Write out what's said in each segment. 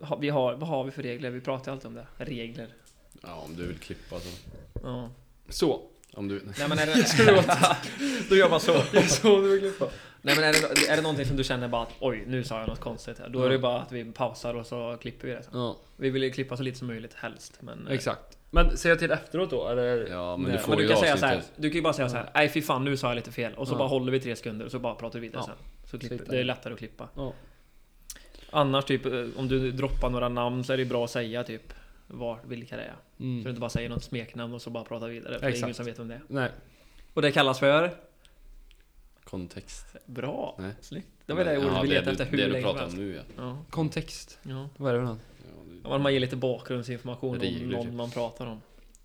ha- vi har, vad har vi för regler? Vi pratar ju alltid om det. Regler. Ja, om du vill klippa så. Ja. Så! Om du... Nej men är det... då gör man så. så du vill klippa. Nej men är det, är det någonting som du känner bara att oj, nu sa jag något konstigt här. Då är det ju bara att vi pausar och så klipper vi det. sen. Ja, Vi vill ju klippa så lite som möjligt helst. Men, eh, Exakt. Men säger jag till efteråt då eller? ja men Nej. du får Men du ju kan, säga så här, avsnittet. du kan ju bara säga så här. Nej fy fan nu sa jag lite fel. Och så Ja. bara håller vi tre sekunder och så bara pratar vi vidare Ja. sen. Så klipper, Sitter. det är lättare att klippa. Ja. Annars typ eh, om du droppar några namn så är det ju bra att säga typ var, vilka det är. Så du Mm. inte bara säger något smeknamn och så bara pratar vidare. För det är ingen Exakt. som vet om det är. Nej. Och det kallas för? Kontext. Bra! Nej. Snyggt! Det var det Ja, ordet vi letade du- efter hur Det du länge som pratar om helst. nu ja. Ja. Kontext. Ja. Vad är det för något? Ja, du- Ja, men man ger lite bakgrundsinformation om Regler, typ. någon man pratar om.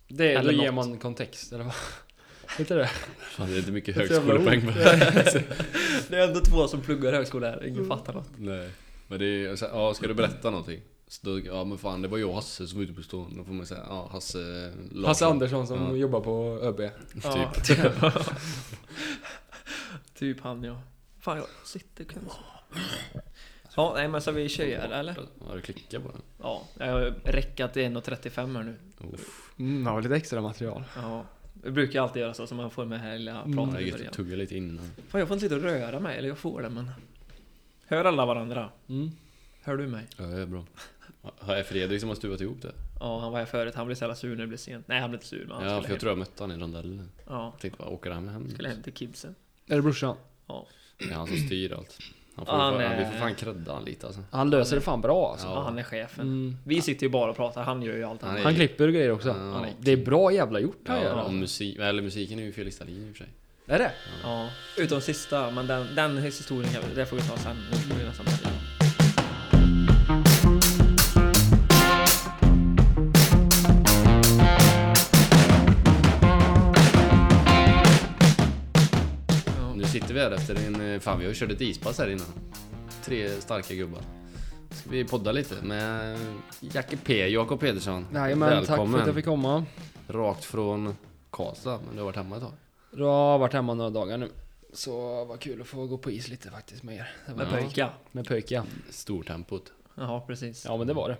Det, Eller då ger något. man kontext eller vad? Heter det? Fan, det är inte mycket Ett jävla högskolepoäng på ord. det. Det är ändå två som pluggar högskola här, ingen fattar något. Nej. Men det är, så här, ja ska du berätta någonting? Så då, ja men fan det var jag och Hasse som var ute på stan. Då får man säga, ja Hasse Larsson. Hasse Andersson som Ja. jobbar på ÖB. Ja, Typ. typ. typ han ja. Fan jag sitter konstigt. Ja, nej men så vi kör eller? Ja du klickar på den. Ja, jag har räckat till 1.35 här nu. Uff, Mm, har lite extra material. Ja. Jag brukar ju alltid göra så, så man får med här lilla Mm. pratet det är i gött att början. tugga lite innan. Fan jag får inte sitta och röra mig, eller jag får det men... Hör alla varandra? Mm. Hör du mig? Ja det är bra. Ja, är Fredrik som har stuvat ihop det? Ja, han var här förut, han blev så jävla sur när det blev sent. Nej, han blev inte sur men han Ja skulle för jag hem. tror jag mötte han i rondellen. Ja, Jag tänkte bara, typ, åker han hem? skulle hem till kidsen. Är det brorsan? Det är han som styr allt. Han får, Ja, fan, nej. vi får fan credda han lite alltså. Han löser det fan bra alltså. Ja. Ja. han är chefen. Mm. Vi sitter ju bara och pratar, han gör ju allt Han annat. är- Han klipper och grejer också. Ja. Det är bra jävla gjort han gör. Ja, och alltså. musik, eller musiken är ju Felix Dahlin i och för sig. Är det? Ja, utom sista, men den, den historien kan vi, det får vi ta sen. Nu får vi nästan börja. Nu sitter vi här efter en... eh, Fan vi har ju kört ett ispass här innan. Tre starka gubbar. Ska vi podda lite med Jacke P, Jakob Pedersson. Nej men tack för att jag fick komma. Rakt från Karlstad, men du har varit hemma ett tag. Jag har varit hemma några dagar nu. Så vad kul att få gå på is lite faktiskt med er. Det var Med Ja. pöjka. Med pöjka. Stortempot. Ja, precis. Ja men det var det.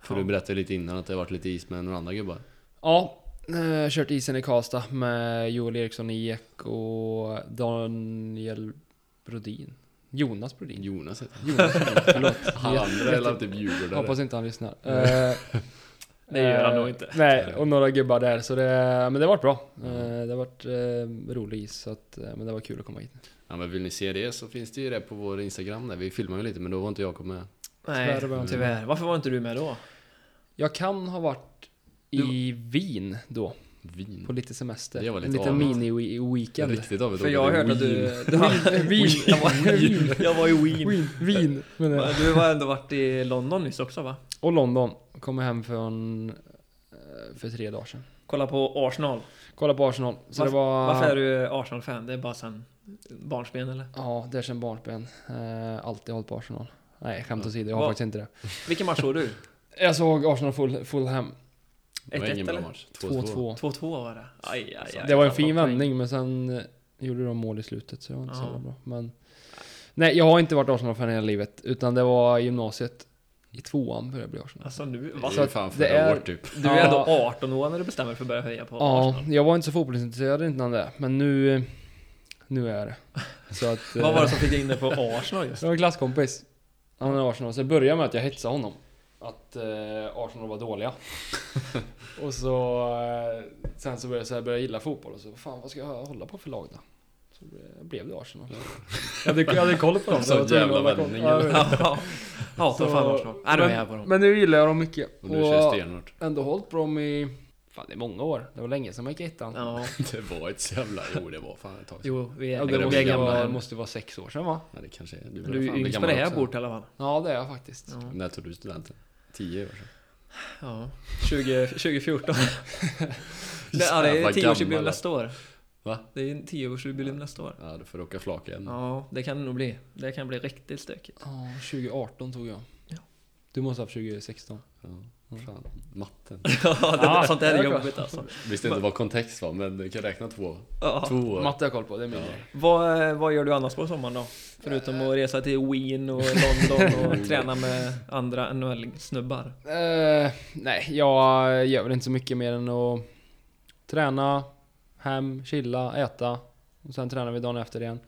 För du berättade lite innan att det har varit lite is med några andra gubbar. Ja, eh, kört isen i Karlstad med Joel Eriksson Ek och Daniel Brodin. Jonas Brodin. Jonas heter Jonas Brodin, förlåt. han. Han andra är typ djurgårdare. Hoppas inte han lyssnar. Eh, Det gör han eh, nog inte. Nej, och några gubbar där. Så det, men det har varit bra. Eh, Det har varit eh, rolig is, så att, eh, men det var kul att komma hit. Ja men vill ni se det så finns det ju det på vår Instagram där. Vi filmar ju lite men då var inte Jakob med. Nej, tyvärr var tyvärr. jag- Varför var inte du med då? Jag kan ha varit i Wien då, Vin. på lite semester. Det var en lite liten avigt. mini-weekend. Riktigt av ett För ord, jag det är hörde att du... Wien. du var, Wien. Jag, var, jag var i Wien. Wien, Wien men, Men Du har ändå varit i London nyss också va? Och London. Kom hem från, eh, för tre dagar sedan. Kolla på Arsenal. Kolla på Arsenal. Så det var... Varför är du Arsenal-fan? Det är bara sen barnsben eller? Ja, det är sedan barnsben. Eh, alltid hållit på Arsenal. Nej, skämt åsido. Jag har Vad- faktiskt inte det. Vilken match såg du? Jag såg Arsenal full, Fulham. Det var 1-1 ingen bra eller? match. 2-2. 2-2. 2-2 var det. Aj, aj, aj. Det var Tappade en fin poäng. vändning, men sen eh, gjorde de mål i slutet, så det var inte så Ja. jävla bra. Men... Nej, jag har inte varit Arsenal-fan hela livet. Utan det var i gymnasiet. I tvåan började jag bli Arsenal. Alltså nu, Det är va? ju fan det förra är- året typ. Du är Ja. ändå 18 år när du bestämmer dig för att börja höja på Ja, Arsenal. jag var inte så fotbollsintresserad innan det, men nu... Nu är jag det. Så att... Vad var eh, det som fick dig in på Arsenal just? Jag har en klasskompis. Han är Arsenal, så det började med att jag hetsade honom. Att eh, Arsenal var dåliga. och så... Eh, sen så började jag, så här, började jag gilla fotboll och så, fan vad ska jag hålla på för lag då? Så ble- blev det Arsenal. jag, hade, jag hade koll på dem. Sån jag jävla var tvungen att hålla koll. vändning, Ja, jag eller? vet. Ja, Hatar Så- fan Arsenal. Nej, då är jag på men, dem. men nu gillar jag dem mycket. Och du kör Och stenhårt. ändå hållit på dem i... Fan det är många år. Det var länge sedan man gick i ettan. Ja, Det var ett så jävla... Jo det var fan ett tag sedan. jo, vi Ja, är, det det vi är måste, gamla vara, gamla. det här. måste vara sex år sedan va? Ja, det kanske är. Men Du börjar är fan bli yngst på det gammal här också. bordet i alla fall. Ja det är jag faktiskt. Ja. När tog du studenten? 10 år sedan. Ja, 20, 2014. det, ja, det Jävla är tioårsjubileum gammal. nästa år. Va? Mm. Det är en tioårsjubileum nästa år. Ja, du får åka flak igen. Ja, det kan det nog bli. Det kan bli riktigt stökigt. Ja, 2018 tog jag. Du måste ha haft 2016. Ja, fan. Matten. Ja, det, Ja, sånt där det är är klart. jobbigt alltså. Visste inte vad kontext var, men du kan räkna två. Ja. Två år. Matte har jag koll på, det är min Ja. grej. Vad, eh, vad gör du annars på sommaren då? Förutom att resa till Wien och London och träna med andra NHL-snubbar. Eh, nej, jag gör väl inte så mycket mer än att träna, hem, chilla, äta. Och sen tränar vi dagen efter igen.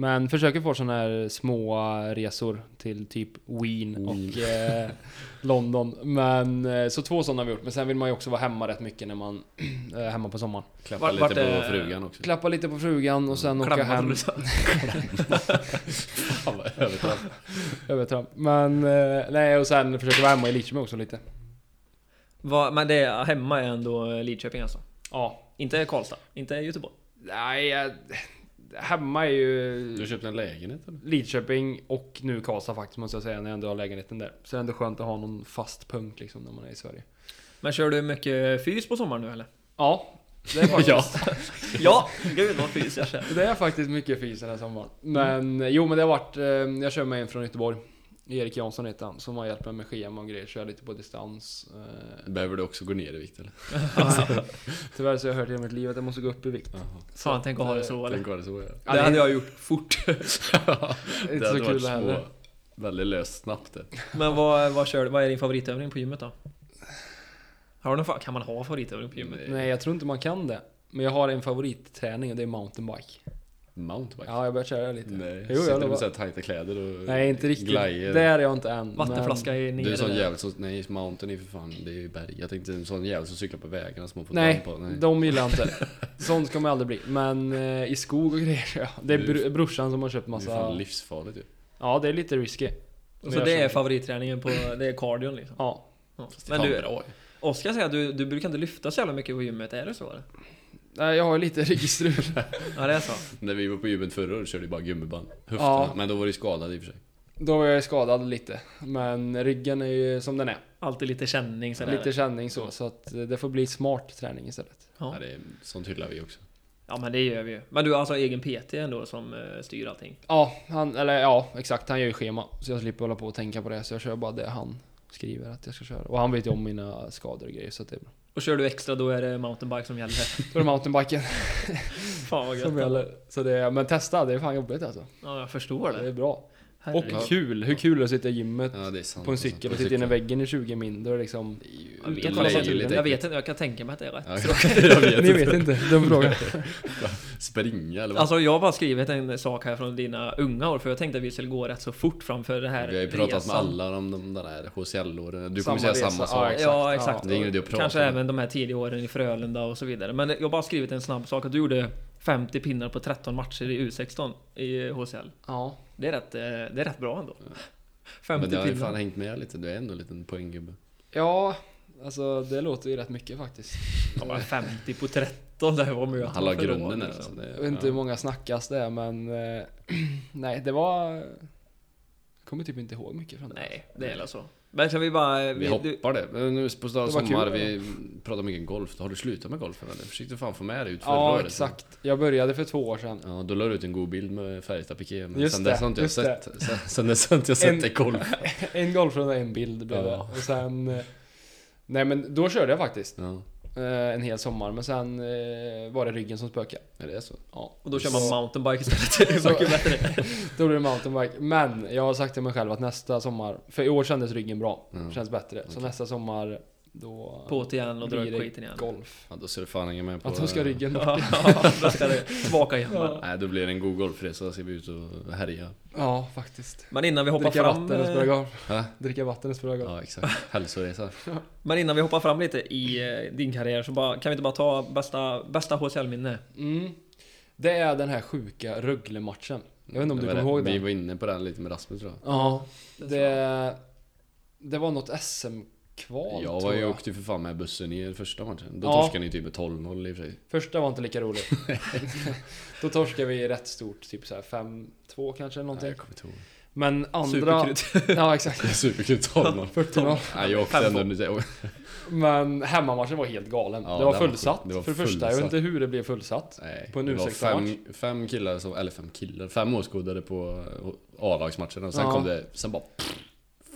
Men försöker få sådana här små resor till typ Wien och eh, London. Men eh, så två sådana har vi gjort. Men sen vill man ju också vara hemma rätt mycket när man eh, är hemma på sommaren. Klappa Vart- lite vart på är- frugan också. Klappa lite på frugan och sen åka Klamma som hem. du sa. Fan vad övertramp. Övertramp. Men eh, nej, och sen försöker vara hemma i Lidköping också lite. Vad- Men det är hemma är ändå Lidköping alltså? Ja. Inte Karlstad? Inte Göteborg? Nej, eh, hemma är ju... Du köpte en lägenhet eller? Lidköping och nu Karlstad faktiskt måste jag säga när jag ändå har lägenheten där. Så det är ändå skönt att ha någon fast punkt liksom när man är i Sverige. Men kör du mycket fys på sommaren nu eller? Ja, det är faktiskt, Ja. Ja! Gud vad fys jag kör. det är faktiskt mycket fys den här sommaren. Men jo, men det har varit. Eh, jag kör med en från Göteborg. Erik Jansson heter han som har hjälpt mig med schema och grejer. Kör lite på distans. Eh, Behöver du också gå ner i vikt eller? nej, tyvärr så har jag hört hela mitt liv att jag måste gå upp i vikt. Jaha. Fan tänk att ha det så eller? Tänk vad det så är. Ja, Det är hade jag gjort fort. inte så hade kul varit små- heller. Väldigt löst snabbt det. Men vad, vad kör du? Vad är din favoritövning på gymmet då? Har du någon, fa- kan man ha favoritövning på gymmet? Nej, jag tror inte man kan det. Men jag har en favoritträning och det är mountainbike. Mountainbike? Ja, jag börjar köra lite. Nej, Jo, jag sitter du lovar. med såhär tajta kläder och Nej, inte riktigt. glajer? Där är jag inte än. men- Vattenflaska i nere Du är en sån där. jävel som... Nej, mountain är ju för fan, det är ju berg. Jag tänkte en sån jävel som cyklar på vägarna som man får Nej, damp på. Nej. de gillar jag inte. Sånt ska man aldrig bli. Men eh, i skog och grejer, ja. Det är br- brorsan som har köpt Det är ju massa... fan livsfarligt ju. Ja, det är lite risky. Men Så jag det är känner- favoritträningen på, det är cardion liksom? Ja. Ja. Fast det är Men fan du, bra ju. Oskar säger att du, du brukar inte lyfta så jävla mycket på gymmet, är det så eller? Nej, Jag har ju lite ryggstrul. Ja det är så? När vi var på gymmet förra året körde vi bara gummiband. Höfterna. Ja. Men då var du skadad i och för sig. Då var jag skadad lite. Men ryggen är ju som den är. Alltid lite känning sådär? Lite känning så. Så att eh, det får bli smart träning istället. Ja. ja. det är, sånt hyllar vi också. ja men det gör vi ju. Men du har alltså egen PT ändå som eh, styr allting? Ja, han, eller ja, exakt. Han gör ju schema. Så jag slipper hålla på och tänka på det. Så jag kör bara det han skriver att jag ska köra. Och han vet ju om mina skador och grejer. Så att det är bra. Och kör du extra då är det mountainbike som gäller? Då är det mountainbiken Fan vad som gött! gäller. Så det är, men testa, det är fan jobbigt alltså. Ja jag förstår Det det. är bra. Herregud. Och kul! Hur kul är det att sitta i gymmet Ja, det är sant. på en cykel och sitta inne i väggen i 20 mindre liksom... Det Jag är ju vet, inte vad som- löjligt jag vet äckligt. inte, jag kan tänka mig att det är rätt. Ja, jag vet Ni vet inte, den frågan. Springa eller vad? Alltså jag har bara skrivit en sak här från dina unga år för jag tänkte att vi skulle gå rätt så fort framför det här vi har ju pratat resan. med alla om de den här HCL-åren. Du kommer Samma säga samma resa. sak. exakt. Ja, exakt. Det är ingen idé att prata Kanske om. även de här tidiga åren i Frölunda och så vidare. Men jag har bara skrivit en snabb sak att du gjorde 50 pinnar på 13 matcher i U16 i HCL. Ja. Det är rätt, eh, det är rätt bra ändå. 50 Men det har ju fan pinnar. hängt med lite. Du är ändå en liten poänggubbe. Ja, alltså det låter ju rätt mycket faktiskt. Ja, men 50 på 13, det här var mötet. Han la för då, grunden där. liksom. Alltså. Det, Jag vet inte hur många snackas det är men... eh, Nej, det var... Jag kommer typ inte ihåg mycket från det. Nej, det är väl så. Men kan vi bara... Vi Vi, du, hoppar det. Men nu på stad Det var sommar, kul, vi pratar mycket golf. Har du slutat med golfen eller? Försökte fan få med dig ut förra Ja, året. exakt. Jag började för två år sedan. Ja, då la du ut en god bild med Färjestad-Piqué. Men Just sen det, dess har inte jag just det. sett, sen, sen dess har inte jag sett En- dig i golf. En golfrunda, en bild blev det. Ja. Och sen... eh, Nej men då körde jag faktiskt. Ja, eh, En hel sommar. Men sen eh, var det ryggen som spökade. är det så? Ja. och då kör man mountainbike istället. Det är Så- mycket bättre. Då blir det mountainbike. Men jag har sagt till mig själv att nästa sommar, för i år kändes ryggen bra. Mm. Känns bättre. Så nästa sommar då På till igen och dra blir ut det skiten igen. golf. Ja, då ser du fan ingen med på... Att då ska ryggen bort. Ja, då ska det tillbaka igen. Ja. Nej, då blir det en god golfresa. Då ska vi ut och härja. Ja, faktiskt. Men innan vi hoppar Dricka fram... vatten och eh, spela golf. Hä? Dricka vatten och spela golf. Ja, exakt. Hälsoresa. Men innan vi hoppar fram lite i eh, din karriär så bara, kan vi inte bara ta bästa, bästa HCL-minne? Mm. Det är den här sjuka Rögle-matchen. Jag vet inte om Det du var kommer det. Vi ihåg den? var inne på den lite med Rasmus tror jag. Ja. Det, det var något SM-kval Jag var tror ju jag. åkte ju för fan med bussen i första matchen. Då Ja. torskade ni typ med 12-0 i och för sig. Första var inte lika rolig. då torskade vi rätt stort, typ så här 5-2 kanske Nej, någonting. jag kommer inte ihåg. Men andra... Superkrut. Ja, exakt. Superkul 12-0. 40-0. Nej, jag åkte ändå... nu- Men hemmamatchen var helt galen. Ja, det var den var fullsatt sjuk. Det var för det första. Jag vet fullsatt. inte hur det blev fullsatt. Nej, På en det var U16-match. fem, fem killar, som, eller fem killar, fem åskådare på A-lagsmatchen och sen Ja. kom det, sen bara pff,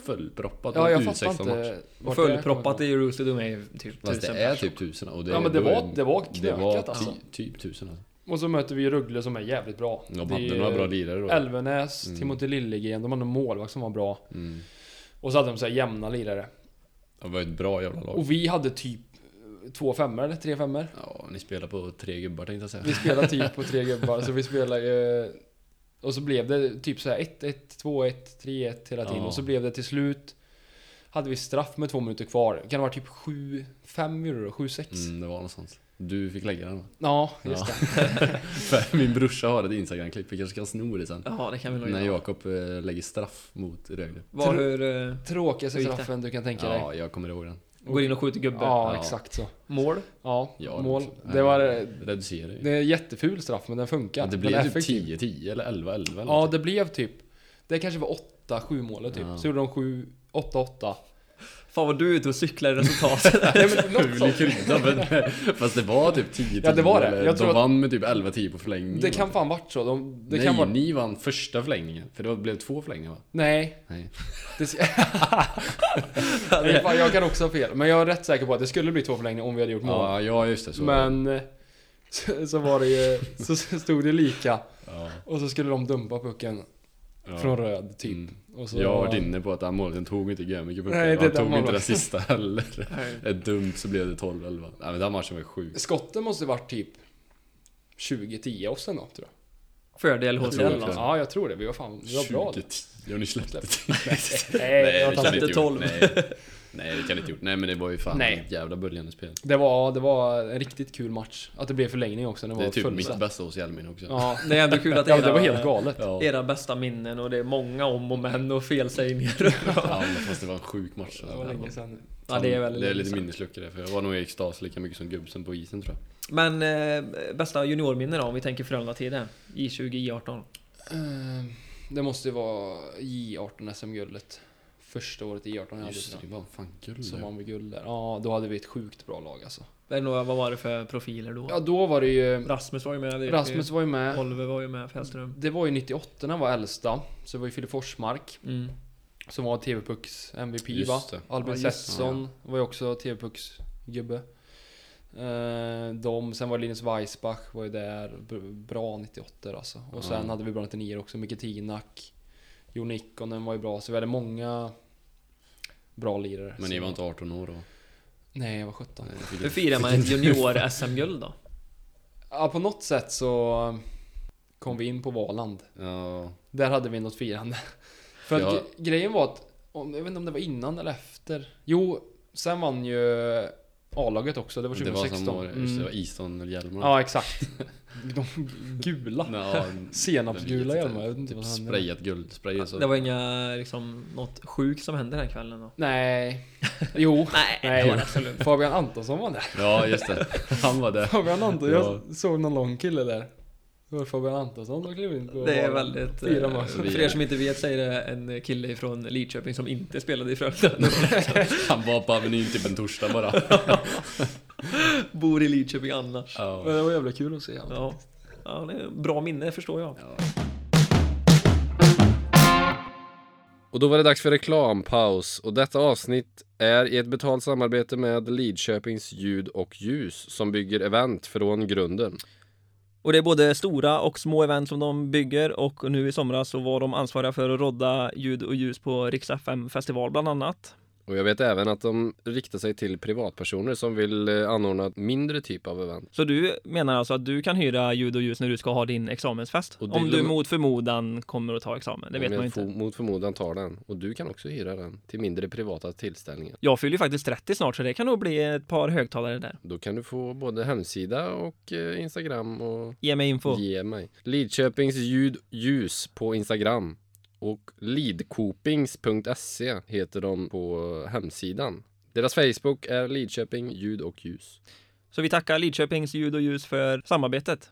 fullproppat Ja, jag U16 fattar match. inte. vart det är. Fullproppat i Roosted Dome är ju typ Fast det tusen är pers. typ tusen och det, Ja, men det då är- var- det var knökat, Det var ty, alltså. typ tusen alltså. Och så möter vi Rögle som är jävligt bra. De Det hade är några bra lirare då. Elvenäs, Mm. Timothy Liljegren, de hade en målvakt som var bra. Mm. Och så hade de så här jämna lirare. Det var ett bra jävla lag. Och vi hade typ två femmor eller tre femmor. Ja, ni spelar på tre gubbar tänkte jag säga. Vi spelade typ på tre gubbar, så vi spelade ju... Och så blev det typ så här 1-1, 2-1, 3-1 hela tiden. Ja. Och så blev det till slut... Hade vi straff med två minuter kvar. Kan det ha varit typ 7-5 vi gjorde då? 7-6? Mm, det var någonstans. Du fick lägga den va? Ja, just det. För Min brorsa har ett instagramklipp, vi kanske kan sno det sen. Ja, det kan vi nog När göra. Jakob eh, lägger straff mot Rögle. Var hur... eh, Tråkigaste Hur gick det? straffen du kan tänka dig. Ja, jag kommer ihåg den. Går in och skjuter gubbe. Ja, Ja. exakt så. Mål. Ja, Ja, det mål. också. Nej, Det var... Reducerar ju. Det är en jätteful straff, men den funkar. Ja, det Den blev är typ effektiv. 10-10 eller 11-11 eller Ja, något. det blev typ... Det kanske var 8-7 målet typ. Ja. Så gjorde de 7... 8-8. Fan vad du är ute och cyklar i resultatet. Nej, men något Ful i sånt. kryddan, men, fast det var typ 10-10 Ja, det var det. eller- Jag tror De att- vann med typ 11-10 på förlängningen Det kan fan varit så. De, det Nej, kan vara... ni vann första förlängningen, för det var- blev två förlängningar va? Nej. Nej. Det, s- Nej, fan, jag kan också ha fel. Men jag är rätt säker på att det skulle bli två förlängningar om vi hade gjort mål. Ja, ja just det. Så. men eh, så, så var det ju... Så stod det lika. ja, Och så skulle de dumpa pucken ja. från röd typ. Mm. Och så, Jag har varit inne på att den målvakten tog inte görmycket puckar. Nej, Nej, det han där tog inte målvakten. den sista heller. Ett dumt så blev det 12-11. Nej men den matchen var sjuk. Skotten måste varit typ 20-10 oss ändå tror jag. Fördel Jag HCL tror det. alltså. Ja, jag tror det. Vi var fan... Vi var bra. 20-10. Och ni släppte 10. Nej, det jag kan tar ni inte gjort. 12. Nej. Nej, det kan ni inte gjort. Nej men det var ju fan Nej. ett jävla böljande spel. Det var, det var en riktigt kul match. Att det blev förlängning också. Det var Det är typ fullsatt. mitt bästa hos Hjelmin också. Ja. Det är ändå kul att ja, era- det var helt galet. Ja. Era bästa minnen och det är många om och men och felsägningar. ja, fast det var en sjuk match. Det var länge sedan. Ja, det är väl det är lite lite sant. minnesluckor där, för jag var nog i extas lika mycket som Gubsen på isen tror jag. Men eh, bästa juniorminne då om vi tänker Frölunda-tiden? J20, J18? Ehm, Det måste ju vara J18 SM-guldet. Första året i J18 jag hade. Just det, tror det var fan jag. guld. Som vann med guld där. Ja, då hade vi ett sjukt bra lag alltså. Är det några- Vad var det för profiler då? Ja, då var det ju... Rasmus var ju med. vet Rasmus var ju ni. med. Oliver var ju med. Fällström. Det var ju 98 när han var äldsta. Så det var ju Filip Forsmark Mm. som var TV-pucks MVP Just va? det. Albin Ja, just det. Setsson var ju också TV-pucks gubbe. Ehm, De, sen var Linus Weissbach var ju där. B- Bra 98 alltså. Och sen Ja. hade vi bra 99 också. Micke Tinak. Jon Ikonen var ju bra. Så vi hade många bra lirare. Men Så- ni var inte 18 år då? Nej, jag var 17. Nej, fick- Hur firar man ett junior-SM-guld då? Ja, på något sätt så kom vi in på Valand. Ja, Där hade vi något firande. För att Ja. gre- grejen var att, om, jag vet inte om det var innan eller efter. Jo, sen vann ju A-laget också. Det var det var 2016. samma år. Just det, det var Mm. Easton-hjälmarna. Ja, exakt. De gula. Ja, Senapsgula jag vet hjälmar. Jag vet inte Typ vad han hände. sprayat guldspray så. Det var inga, liksom, något sjukt som hände den här kvällen då? Nej. Jo. Nej, Nej. det var det absolut. Fabian Antonsson var där. Ja, just det. Han var där. Fabian Antonsson. Jag såg någon lång kille där. Det var Fabian Antonsson som klev in på Det är banan. väldigt... Fyra Eh, matcher. för er som inte vet så är det en kille från Lidköping som inte spelade i Frölunda. Han var på Avenyn typ en torsdag bara. Bor i Lidköping annars. Men Ja. det var jävla kul att se. Ja. ja, det är bra minne förstår jag. Och då var det dags för reklampaus och detta avsnitt är i ett betalt samarbete med Lidköpings ljud och ljus som bygger event från grunden. Och det är både stora och små event som de bygger och nu i somras så var de ansvariga för att rodda ljud och ljus på Rix FM festival bland annat. Och jag vet även att de riktar sig till privatpersoner som vill eh, anordna ett mindre typ av event. Så du menar alltså att du kan hyra ljud och ljus när du ska ha din examensfest? Och det Om du glömmer- mot förmodan kommer att ta examen, det vet Om jag man ju inte. fo- Mot förmodan tar den. Och du kan också hyra den till mindre privata tillställningar. Jag fyller ju faktiskt 30 snart så det kan nog bli ett par högtalare där. Då kan du få både hemsida och eh, Instagram och Ge mig info. Ge mig. Lidköpings ljud ljus på Instagram och lidkopings.se heter de på hemsidan. Deras Facebook är Lidköping ljud och ljus. Så vi tackar Lidköpings ljud och ljus för samarbetet.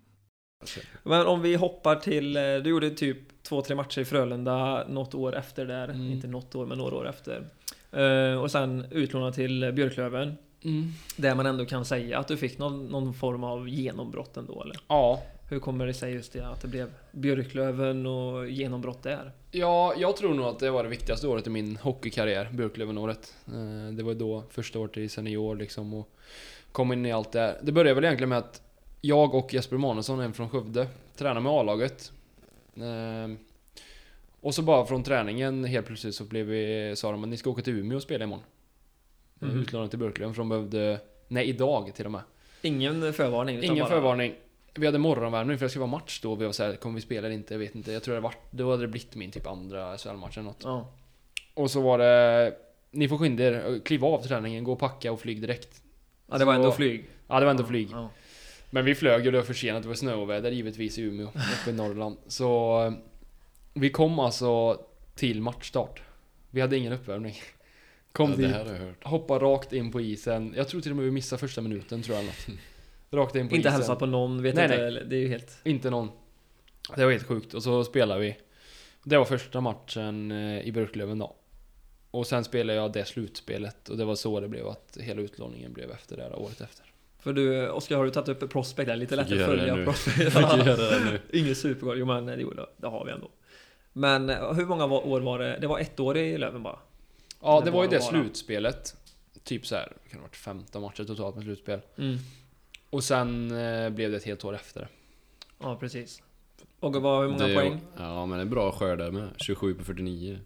Men om vi hoppar till, eh, du gjorde typ två, tre matcher i Frölunda något år efter där. Mm. Inte något år, men några år efter. Eh, och sen utlånad till eh, Björklöven. Mm. Där man ändå kan säga att du fick någon, någon form av genombrott ändå eller? Ja, Hur kommer det sig just det att det blev Björklöven och genombrott där? Ja, jag tror nog att det var det viktigaste året i min hockeykarriär, Björklövenåret. Eh, Det var då första året i senior liksom och kom in i allt det här. Det började väl egentligen med att jag och Jesper Manusson, en från Skövde, tränade med A-laget. Eh, Och så bara från träningen helt plötsligt så blev vi, sa de att ni ska åka till Umeå och spela imorgon. Mhm. Mm. Utlånade till Björklöven för de behövde, nej idag till och med. Ingen förvarning? utan Ingen bara- förvarning. Vi hade morgonvärmning för det skulle vara match då. Vi var såhär, kommer vi spela eller inte? Jag vet inte. Jag tror det var, då hade det blivit min typ andra SHL-match eller något. Ja. Och så var det, ni får skynda er, kliva av träningen, gå och packa och flyg direkt. ja, det var ändå Så- flyg. Ja, det var ändå flyg. Ja. Men vi flög och det var försenat, det var snöoväder givetvis i Umeå, uppe i Norrland. Så eh, vi kom alltså till matchstart. Vi hade ingen uppvärmning. Kom ja, det dit, här har jag hört. hoppade rakt in på isen. Jag tror till och med vi missade första minuten tror jag. eller något. Rakt in på Inte isen. hälsa på någon, vet Nej, inte. nej. eller- Det är ju helt... Inte någon. Det var helt sjukt. Och så spelade vi. Det var första matchen eh, i Björklöven då. Och sen spelade jag det slutspelet och det var så det blev att hela utlåningen blev efter det här året efter. För du, Oskar, har du tagit upp Prospect där? Lite lätt Fick att göra det följa nu. Prospect. Jag fick göra det nu. Ingen supergol, jo men det, gjorde, det har vi ändå. Men eh, hur många var- år var det? Det var ett år i Löven bara? Ja, Det det, var ju var det det bara. slutspelet. Typ så här, det kan ha varit 15 matcher totalt med slutspel. Mm. Och sen eh, blev det ett helt år efter. Ja, precis. Och vad, hur många Det- poäng? Ja, men det är bra skörd där med. 27 på 49.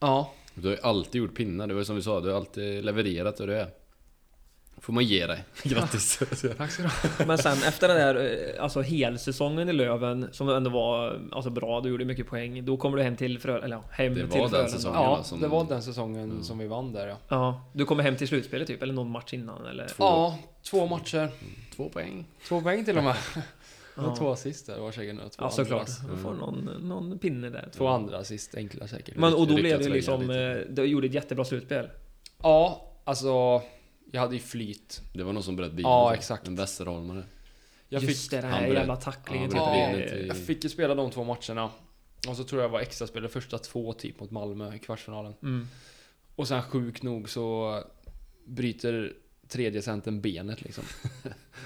Ja, Du har ju alltid gjort pinnar, det var ju som vi sa, du har alltid levererat där du är. Får man ge dig. Grattis! tack ska du ha. Men sen efter den där eh, alltså, helsäsongen i Löven, som ändå var alltså, bra, du gjorde mycket poäng. Då kommer du hem till Frölunda, eller ja, hem Det till var den Frölunda. säsongen. Ja, som- det var den säsongen som vi vann där ja. Ja, du kommer hem till slutspelet typ, eller någon match innan eller? Två, Ja, två matcher. två poäng. Två poäng till och med. Ja. Och två assist där, var säkert nu. Två Ja, såklart. andra- Du får någon, någon pinne där. Två andra assist, enkla säkert. Men och då Lyckas blev det lägga liksom, lite. eh, du gjorde ett jättebra slutspel. Ja, alltså... Jag hade ju flyt. Det var någon som bröt bilen. Ja, exakt. En västerholmare. Jag Just fick, det, den han här bröt- jävla tacklingen. han typ. bröt Det- benet i- jag fick ju spela de två matcherna. Och så tror jag jag var extra spelare första två typ mot Malmö i kvartsfinalen. Mm. Och sen sjukt nog så bryter tredje centern benet liksom.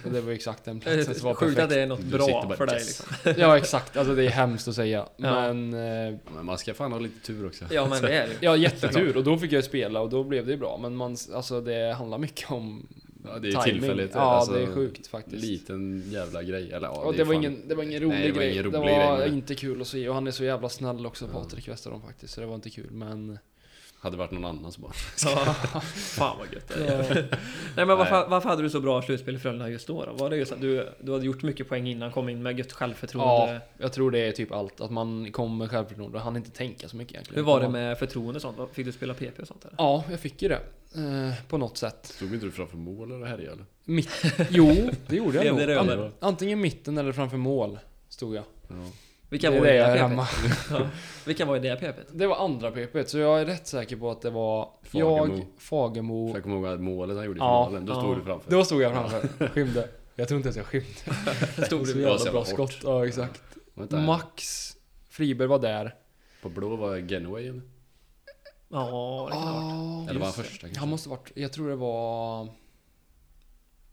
Och det var ju exakt den platsen som var Sjukt att perfekt. det är något Du bra sitter bara, för dig "Yes." liksom. Ja exakt, alltså det är hemskt att säga. Ja. Men... eh, Ja, men man ska fan ha lite tur också. Ja men det är det ju. Ja jättetur och då fick jag ju spela och då blev det ju bra. Men man, alltså det handlar mycket om... Ja, det är timing. tillfälligt, Ja, alltså, det är sjukt faktiskt. Liten jävla grej. Eller, ja, Ja, det, är var fan- ingen, det var ingen rolig Nej, det var grej. ingen det rolig grej, var men- inte kul att se och han är så jävla snäll också, Ja. Patrik Westerholm faktiskt. Så det var inte kul men... Hade varit någon annans bara. Ja. Fan vad gött det är. Nej men varför, varför hade du så bra slutspel i Frölunda just då? då? Var det just att du, du hade gjort mycket poäng innan, kom in med gött Ja, självförtroende? jag tror det är typ allt. Att man kommer med självförtroende och han inte tänka så mycket egentligen. Hur var det Man- med förtroende och sånt? Fick du spela PP och sånt där? Ja, jag fick ju det. Eh, på något sätt. Stod inte du framför mål eller härjade eller? Mitt... Jo, det gjorde Blev jag det nog. röda? An- antingen mitten eller framför mål, stod jag. Ja. Vilka det var i är det jag det är hemma. PP? Ja. Vilka var i det PP? Det var andra PP, så jag är rätt säker på att det var jag, Fagemo. Fagemo... För jag kommer ihåg att målet han gjorde i Ja, finalen, då ja. stod du framför. Då stod jag framför, skymde. Jag tror inte ens jag skymde. Stod Så du? var så jävla jävla bra hårt. skott. Ja, exakt. Vänta, Max Friberg var där. På blå var Genway eller? Ja, det kan det ha varit. Ah, Eller var han just det. första kanske? Han måste varit... Jag tror det var...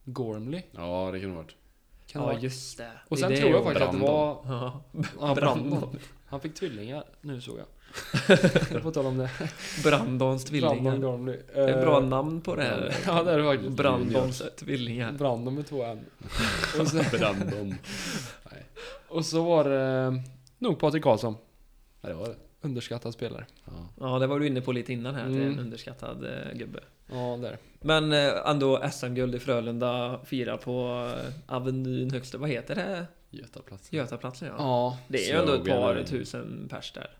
Gormley. Ja, det kan det ha varit. Kan det Ja vara. just det. Och Det är sen det tror jag året. faktiskt att det var... Ja. Ja, Brandon. Brandon. Han fick tvillingar. Nu såg jag. på tal om det. Brandons Brandon tvillingar. Gormley. Det är Eh, bra namn på det här. Ja, det är det faktiskt. Brandons tvillingar. Brandon med två M. Och sen, Brandom. och så var det... Nog Patrik Karlsson. Ja, det var det. Underskattad spelare. Ja. Ja, det var du inne på lite innan här, att det är en Mm. underskattad eh, gubbe. Ja, där. Men eh, ändå SM-guld i Frölunda, fira på eh, Avenyn högst vad heter det? Götaplatsen. Götaplatsen ja. Ja. Det är ju ändå ett Slogan, par eller? tusen pers där.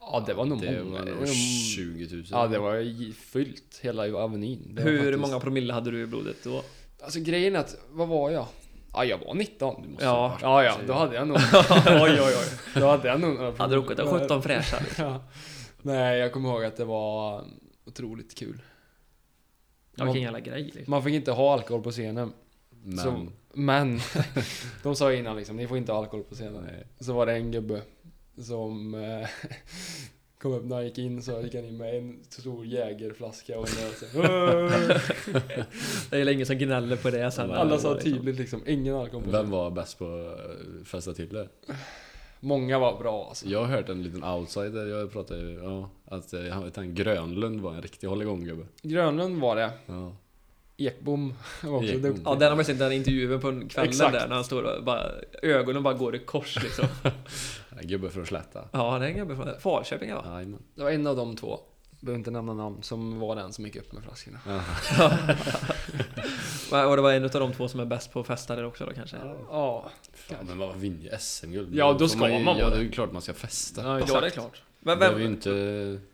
Ja, det var nog Det många. var Det nog var- 20 000. Ja, det var ju fyllt hela Avenyn. Det var Hur faktiskt- många promille hade du i blodet då? Alltså grejen är att, vad var jag? Ja, jag var 19. måste ha ja, varit- ja, ja, då hade jag nog... oj, oj, oj. Då hade jag nog... Hade du åkt av 17 fräscha? Ja. Nej, jag kommer ihåg att det var um, otroligt kul. Ja, vilken jävla grej liksom. Man fick inte ha alkohol på scenen. Men... Så, men de sa innan liksom, ni får inte ha alkohol på scenen. Nej. Så var det en gubbe som eh, Kom upp när han gick in så gick han in med en stor jägerflaska och en öl, så här, Det är ju länge som gnäller på det sen. Alla sa tydligt liksom, ingen alkohol på sig. Vem var bäst på eh, festa tyglar? Många var bra alltså. Jag har hört en liten outsider, jag pratade ju, ja, att eh, han vet han, Grönlund var en riktig hålligånggubbe. Grönlund var det. Ja. Ekbom var också Ekbom. duktig. Ja, den har man sett den intervjun på kvällen Exakt. där när han står och bara, ögonen bara går i kors liksom. Gubbe från Slätta. Ja, det är en gubbe från Falköping va? Jajamän. Det var en av de två. Behöver inte nämna namn som var den som gick upp med flaskorna. Ja. Och det var en av de två som är bäst på festa där också då kanske? Ja, Fan, men vad vinner ju SM-guld? Ja, då får ska ju- man Ja, vara det är ju klart man ska festa. ja, Ja, det är klart. Vi Men behöver ju vem, inte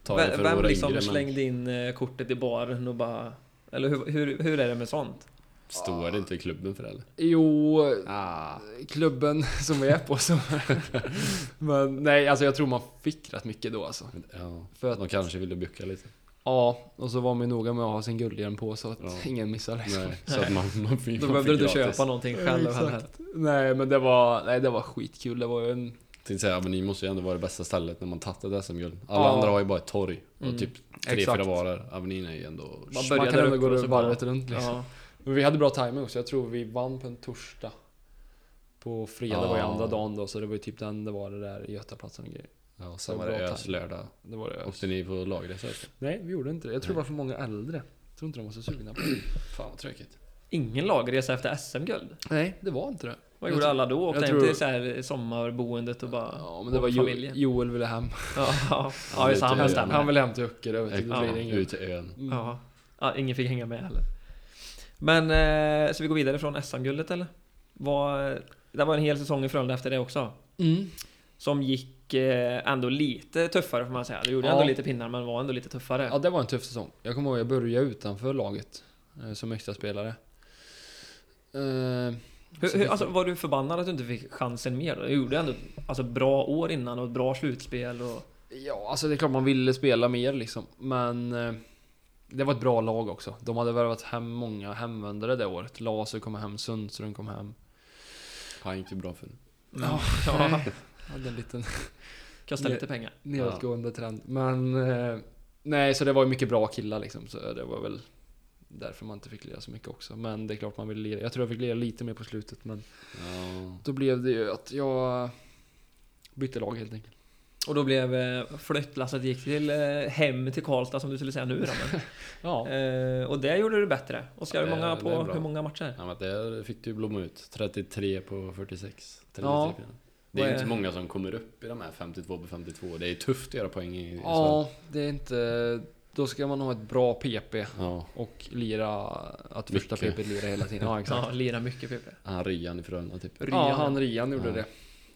ta det för vem, vem våra liksom yngre, men slängde in eh, kortet i baren och bara... Eller hur, hur, hur är det med sånt? står det inte i klubben för det eller? Jo, Ah. klubben som vi är på så... Men nej, alltså jag tror man fick rätt mycket då alltså. Ja, För att, de kanske ville bucka lite. ja, och så var man ju noga med att ha sin guldhjälm på så att Ja. ingen missar liksom. Nej, så att man, man fick Då man behövde fick du inte gratis. köpa någonting själv Exakt. heller. Nej, men det var, nej, det var skitkul. Det var ju en... Tänkte säga, ja, men ni måste ju ändå vara det bästa stället när man tagit ett SM-guld. Alla Ja. andra har ju bara ett torg och Mm. typ tre, Exakt. fyra varor. Avenyn är ju ändå... Man Man börjar kan där ändå uppe och gå så varvet bara- runt liksom. Ja. Men vi hade bra timing också. Jag tror vi vann på en torsdag. På fredag var ju Ja. andra dagen då, så det var ju typ den det var det där Götaplatsen och grejer. Ja, sen Det var var det bra ös tajm. lördag. Det var det. Åkte ni på lagresa också? Nej, vi gjorde inte det. Jag tror det var för många äldre. Jag tror inte de var så sugna på det. Fan vad tråkigt. Ingen lagresa efter SM-guld? Nej, det var inte det. Vad Jag gjorde tror- alla då? Åkte jag hem tror- till så här sommarboendet och bara... Ja, men det och var jo, familjen? Joel ville hem. Ja, ja. ja just det, han lite- bestämde. Han ville hem till Öckerö. vet du. Ut Det blir inget. Ut till ön. Mm. Ja. ja, ingen fick hänga med heller. Men, eh, så vi går vidare från SM-guldet eller? Var, det var en hel säsong i Frölunda efter det också. Mm. Som gick eh, ändå lite tuffare får man säga. Det gjorde Ja. ändå lite pinnar men var ändå lite tuffare. Ja, det var en tuff säsong. Jag kommer ihåg jag började utanför laget eh, som extra spelare. Eh, hur, hur, alltså, var du förbannad att du inte fick chansen mer då? Du gjorde ändå alltså, bra år innan och ett bra slutspel och... Ja, alltså det är klart man ville spela mer liksom. Men eh, det var ett bra lag också. De hade värvat hem många hemvändare det året. Laser kom hem, Sundström kom hem. Han gick ju typ bra för mm, Ja. Ja. Hade en liten Kostade Ja. lite pengar. nedåtgående trend. Men eh, nej, så det var ju mycket bra killar liksom. Så det var väl därför man inte fick lira så mycket också. Men det är klart man ville lira. Jag tror jag fick lira lite mer på slutet. Men Ja. då blev det ju att jag bytte lag helt enkelt. Och då blev eh, flyttlasset gick till eh, hem till Karlstad som du skulle säga nu då, men, Ja. eh, Och det gjorde du bättre. Och ska Ja, du det- många det på är bra. hur många matcher? ja men där fick du ju blomma ut. 33 på 46. 33 Ja. pinnar. Det är Vad ju är- inte många som kommer upp i de här 52 på 52. Det är ju tufft att göra poäng i i Sverige. ja, det är inte... Då ska man ha ett bra PP. Ja. Och lira att första Mycket. PP lira hela tiden. Ja, exakt. Ja, lira mycket PP. Han Ryan i Frölunda typ. Rian, Rian, ja. han Rian gjorde Ja. det.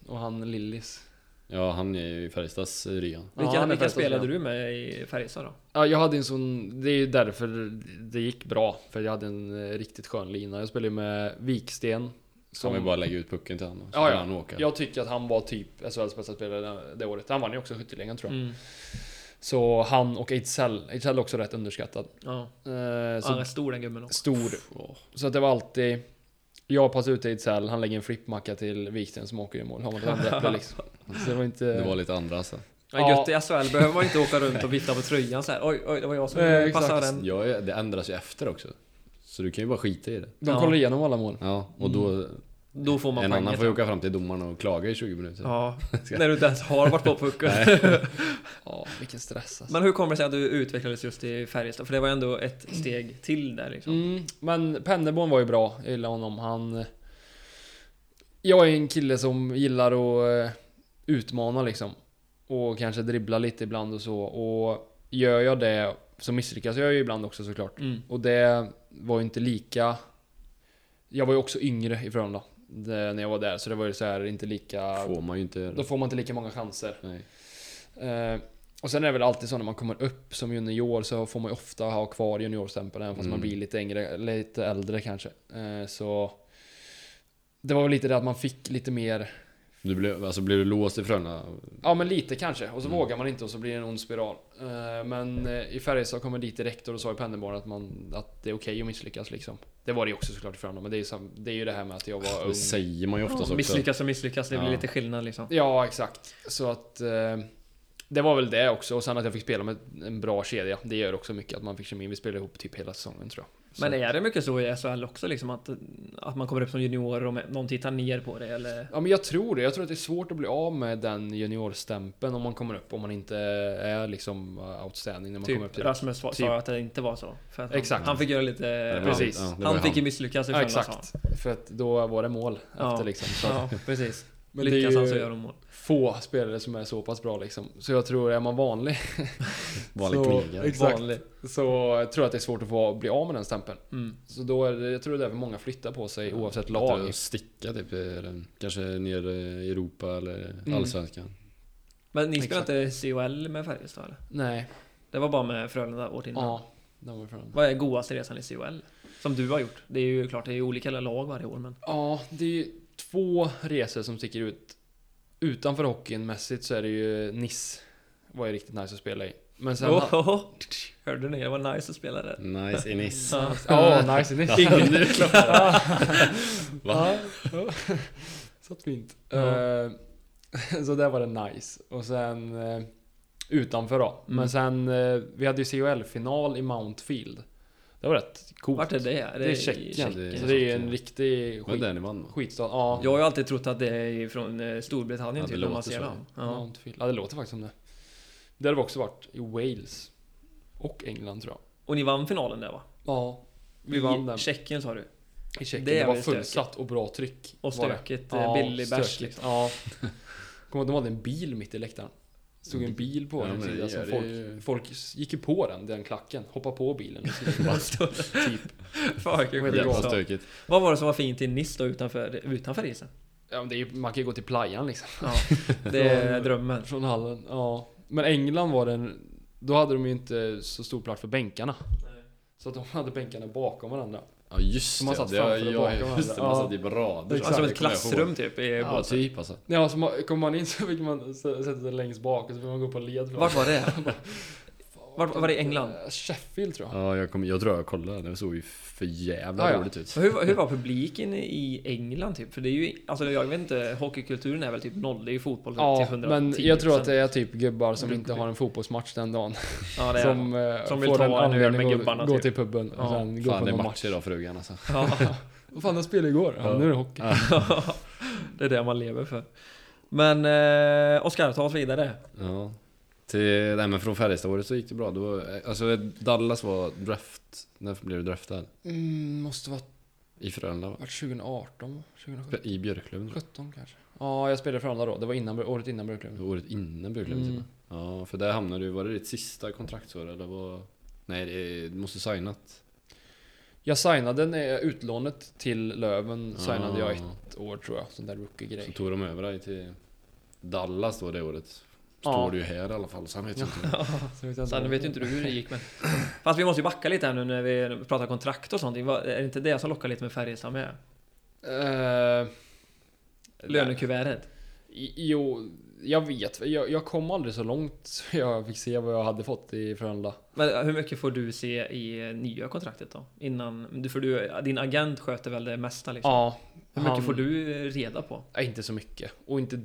Och han Lillis. Ja, han är ju i Färjestads eh, Ryan. Ja, Vilka, han är vilka faktiskt spelade bra. du med i Färjestad då? Ja, jag hade en sån... Det är ju därför det gick bra. För jag hade en eh, riktigt skön lina. Jag spelade ju med Viksten. Som vi bara lägger ut pucken till honom. Så Ja, kan ja. han åka. Jag tycker att han var typ SHLs bästa spelare det- det året. Han vann ju också skytteligan tror jag. Mm. Så han och Ejdsell. Ejdsell är också rätt underskattad. Ja, Eh, han är så stor den gubben också. stor. Åh, Så att det var alltid... Jag passade ut Ejdsell, han lägger en flippmacka till Viksten som åker i mål. Han var ett handräpple liksom. Så det var inte... Det var lite andra alltså. Ja, Ja. gött i SHL behöver man inte åka runt och vifta på tröjan så här. Oj, oj, det var jag som Nej, exakt. passade den. Ja, ja, det ändras ju efter också. Så du kan ju bara skita i det. De Ja. kollar igenom alla mål. Ja, och då... Mm. Då får man en annan poänget. får ju åka fram till domaren och klaga i 20 minuter. Ja, när du inte ens har varit på pucken. Ja, vilken stress alltså. Men hur kommer det sig att du utvecklades just i Färjestad? För det var ju ändå ett steg till där liksom. Mm, men Pennerborn var ju bra, jag gillar honom. Han... Jag är en kille som gillar att eh, utmana liksom. Och kanske dribbla lite ibland och så. Och gör jag det så misslyckas jag ju ibland också såklart. Mm. Och det var ju inte lika... Jag var ju också yngre i Frölunda. det- När jag var där, så det var ju så här inte lika... Får man ju inte Då göra. får man inte lika många chanser. Nej. Eh, och sen är det väl alltid så när man kommer upp som junior så får man ju ofta ha kvar juniorstämpeln även fast Mm. man blir lite, ängre, lite äldre kanske. Eh, så det var väl lite det att man fick lite mer, Du blev, alltså blev du låst i Frölunda? ja men lite kanske. Och så Mm. vågar man inte och så blir det en ond spiral. Eh, men eh, i Färjestad kom jag dit direkt och då sa i pendelbarn att, man, att det är okej att misslyckas liksom. Det var det ju också såklart i Frölunda men det är, ju sam- det är ju det här med att jag var ung. Det säger man ju oftast också. Misslyckas och misslyckas, det blir Ja. lite skillnad liksom. Ja, exakt. Så att... Eh, det var väl det också. Och sen att jag fick spela med en bra kedja. Det gör också mycket att man fick kemin. Vi spelade ihop typ hela säsongen tror jag. Så- Men är det mycket så i SHL också liksom att, att man kommer upp som junior och någon tittar ner på det eller? Ja men jag tror det. Jag tror att det är svårt att bli av med den juniorstämpeln om man kommer upp. Om man inte är liksom eh, outstanding när man kommer upp Typ till det. Rasmus sa Typ. sa att det inte var så. För att han, Exakt. Han fick göra lite... det var- ja, precis. ja, det var han fick ju misslyckas i Ja, Frölunda, sa exakt. För att då var det mål Ja. efter liksom. Så han. Ja, precis. Men det är Lyckas ju- han så gör de mål. få spelare som är så pass bra liksom. Så jag tror, är man vanlig Vanlig så, kniga. exakt, Vanlig. så jag tror jag att det är svårt att få, bli av med den stämpeln. Mm. Så då är det, jag tror det är därför många flyttar på sig oavsett lag. Att sticka typ, eller kanske ner eh, i Europa eller Mm. Allsvenskan. Men ni Exakt. spelade inte COL med Färjestad eller? Nej, Det var bara med Frölunda året innan? ja. Den var från. Vad är godaste resan i COL? Som du har gjort? Det är ju klart, det är ju olika lag varje år men... Ja, det är ju två resor som sticker ut. Utanför hockeyn mässigt så är det ju Nice. Var ju riktigt nice att spela i. Men sen... Oh, oh, oh. Hörde ni? Det var nice att spela där. Nice i Nice. Ja. Ja, nice i Nice. Nu Va? Satt fint. Ja. Eh, så där var det nice. Och sen eh, utanför då. Mm. Men sen, eh, vi hade ju CHL-final i Mountfield. Det var rätt coolt. Vart är det? Är Det är i Tjeckien. Tjeckien. Så det är ju en riktig var det skit, där ni vann va? skitstad. Ja. Jag har ju alltid trott att det är från eh, Storbritannien Ja, det typ, när man låter ser så. dem. Ja. Mountfield. Ja, det låter faktiskt som det. Där har vi också varit. I Wales. Och England tror jag. Och ni vann finalen där va? Ja. Vi I vann den. Tjeckien sa du? I Tjeckien. det Det, är var väl stökigt. fullsatt och bra tryck. Och var det. stökigt, eh, billig bärs stökigt. liksom. Ja. Kommer ihåg, de hade en bil mitt i läktaren. Stod Mm. en bil på Ja, den men det sida gör som det folk, ju. folk gick ju på den, den klacken. Hoppade på bilen. och skulle- typ. Fan vilken Vad är det Jävla bra. skit. stökigt. Vad var det som var fint i Nice då utanför, utanför isen? Ja, men det är ju, man kan ju gå till playan liksom. Ja, det är drömmen. Från hallen, ja. Men England var den... Då hade de ju inte så stor plats för bänkarna. Så att de hade bänkarna bakom varandra. Ja just Så man det. satt det framför jag- och bakom jag- just det. Man varandra. satt i rader. Alltså som ett klassrum typ. I Ja båten. typ alltså. Ja, så man- kom man in så fick man s- sätta sig längst bak och så fick man gå på led. fram. Vart var det? Vart var det i England? Eh, Sheffield tror jag. Ja jag, kom, jag tror jag kollade. Det såg ju för jävla Ja, ja. roligt ut. Men Hur, hur var publiken i England typ? För det är ju, alltså jag vet inte, hockeykulturen är väl typ noll, det är ju fotboll Ja, till 110%. men jag tror att det är typ gubbar som inte har en fotbollsmatch den dagen. Ja, det är som, eh, Som vill får ta en en öl med anledning att gubbarna, Gå typ. till puben och Ja. sen gå Fan på det är någon match match. idag frugan alltså. ja. Vad fan, de spelade igår. Ja, nu är det hockey. Ja, det är det man lever för. Men eh, Oskar, ta oss vidare. Ja. Till, nej men från Färjestadsåret så gick det bra. Det var, alltså Dallas var draft. När blev du draftad? Mm, måste vara I Frölunda va? vart 2018, 2017 I Björklöven tror 17 kanske. Ja, jag spelade i Frölunda då. Det var innan, året innan jag. Björklöven. Det var Året innan Björklöven Mm. mm. Ja för där hamnade du, var det ditt sista kontraktsår eller var... Nej det, du måste signat. Jag signade när utlånet till Löven, signade jag Ja. ett år tror jag. Sån där Ah. Så rookie-grej. tog de över dig till Dallas då det året. Står Ja. du ju här i alla fall, sen vet jag inte. Så vet jag Sen vet ju inte du hur det gick men... Fast vi måste ju backa lite här nu när vi pratar kontrakt och sånt. Vad- Är det inte det som lockar lite med Färjestad med? Eh, Lönekuvertet. I- Jo, jag vet. Jag, jag kom aldrig så långt så jag fick se vad jag hade fått i Frölunda. Men hur mycket får du se i eh, nya kontraktet då? Innan... För du, din agent sköter väl det mesta liksom? Ja. Hur mycket får du eh, reda på? Nej, inte så mycket. Och inte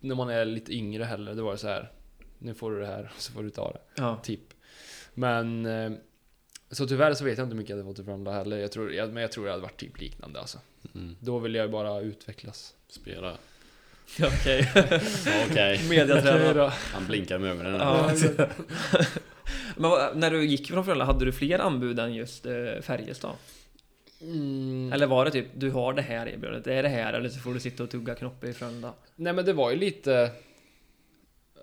när man är lite yngre heller. Det var ju så här. Nu får du det här och så får du ta det. Ja. Typ. Men... eh, Så tyvärr så vet jag inte hur mycket jag hade fått i Frölunda heller. Jag tror, jag, men jag tror det hade varit typ liknande alltså. Mm. Då vill jag ju bara utvecklas. Spela. Okej. Mm. Ja, Okej. Mediatränare. Han blinkar med ögonen. Ja. Men vad, när du gick från Frölunda, hade du fler anbud än just eh, Färjestad? Mm. Eller var det typ, du har det här erbjudandet, det är det här eller så får du sitta och tugga knoppe i Frölunda? Nej men det var ju lite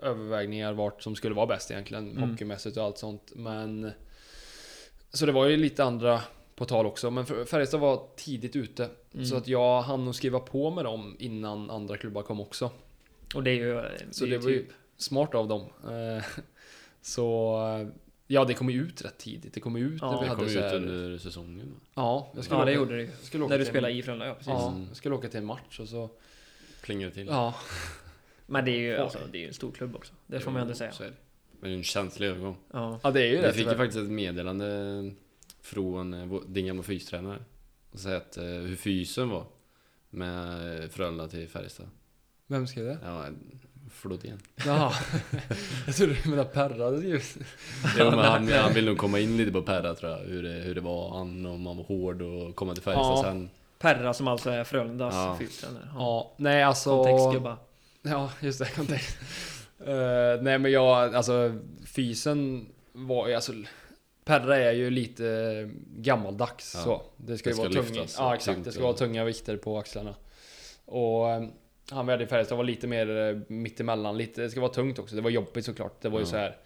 övervägningar vart som skulle vara bäst egentligen. Mm. Hockeymässigt och allt sånt. Men... Så det var ju lite andra på tal också. Men Fär- Färjestad var tidigt ute. Mm. Så att jag hann nog skriva på med dem innan andra klubbar kom också. Och det är ju... Så är typ- det var ju smart av dem. Eh, Så... eh, Ja, det kom ju ut rätt tidigt. Det kom ju ut Ja. när vi Det hade kom så ut här- under säsongen. Ja, jag skulle Ja, det åka- gjorde det ju. jag skulle åka När du till- spelade i Frölunda, ja precis. Ja, Mm. jag skulle åka till en match och så... Plingade till. Ja, Men det är ju Oj. alltså, det är ju en stor klubb också. Det får man ju ändå säga. Mm. Så är det. Men det är en känslig övergång. Ja. ja det är ju det Vi fick ju tyvärr. faktiskt ett meddelande från eh, vår- din gamla fystränare. Och säga att, eh, hur fysen var. Med Frölunda eh, till Färjestad. Vem skrev det? Ja, Flodén. Jaha. Jag trodde du menade pärrade ljus. Jo, men han, han vill nog komma in lite på Perra tror jag. Hur det, hur det var han, om han var hård och komma till Färjestad Ja. sen. Perra som alltså är Frölundas Ja. fyrtränare. Ja. Ja, nej alltså... Kontextgubba. Ja, just det. Kontext. Eh, nej, men jag, alltså fysen var ju, alltså Perra är ju lite gammaldags Ja, så. Det ska det ju ska vara tunga. lyftas och Ja, exakt. tungt Det ska och- vara tunga vikter på axlarna. Och eh, han vi hade i Färjestad var lite mer eh, mittemellan. Lite, det ska vara tungt också. Det var jobbigt såklart. Det var ju Ja. så här.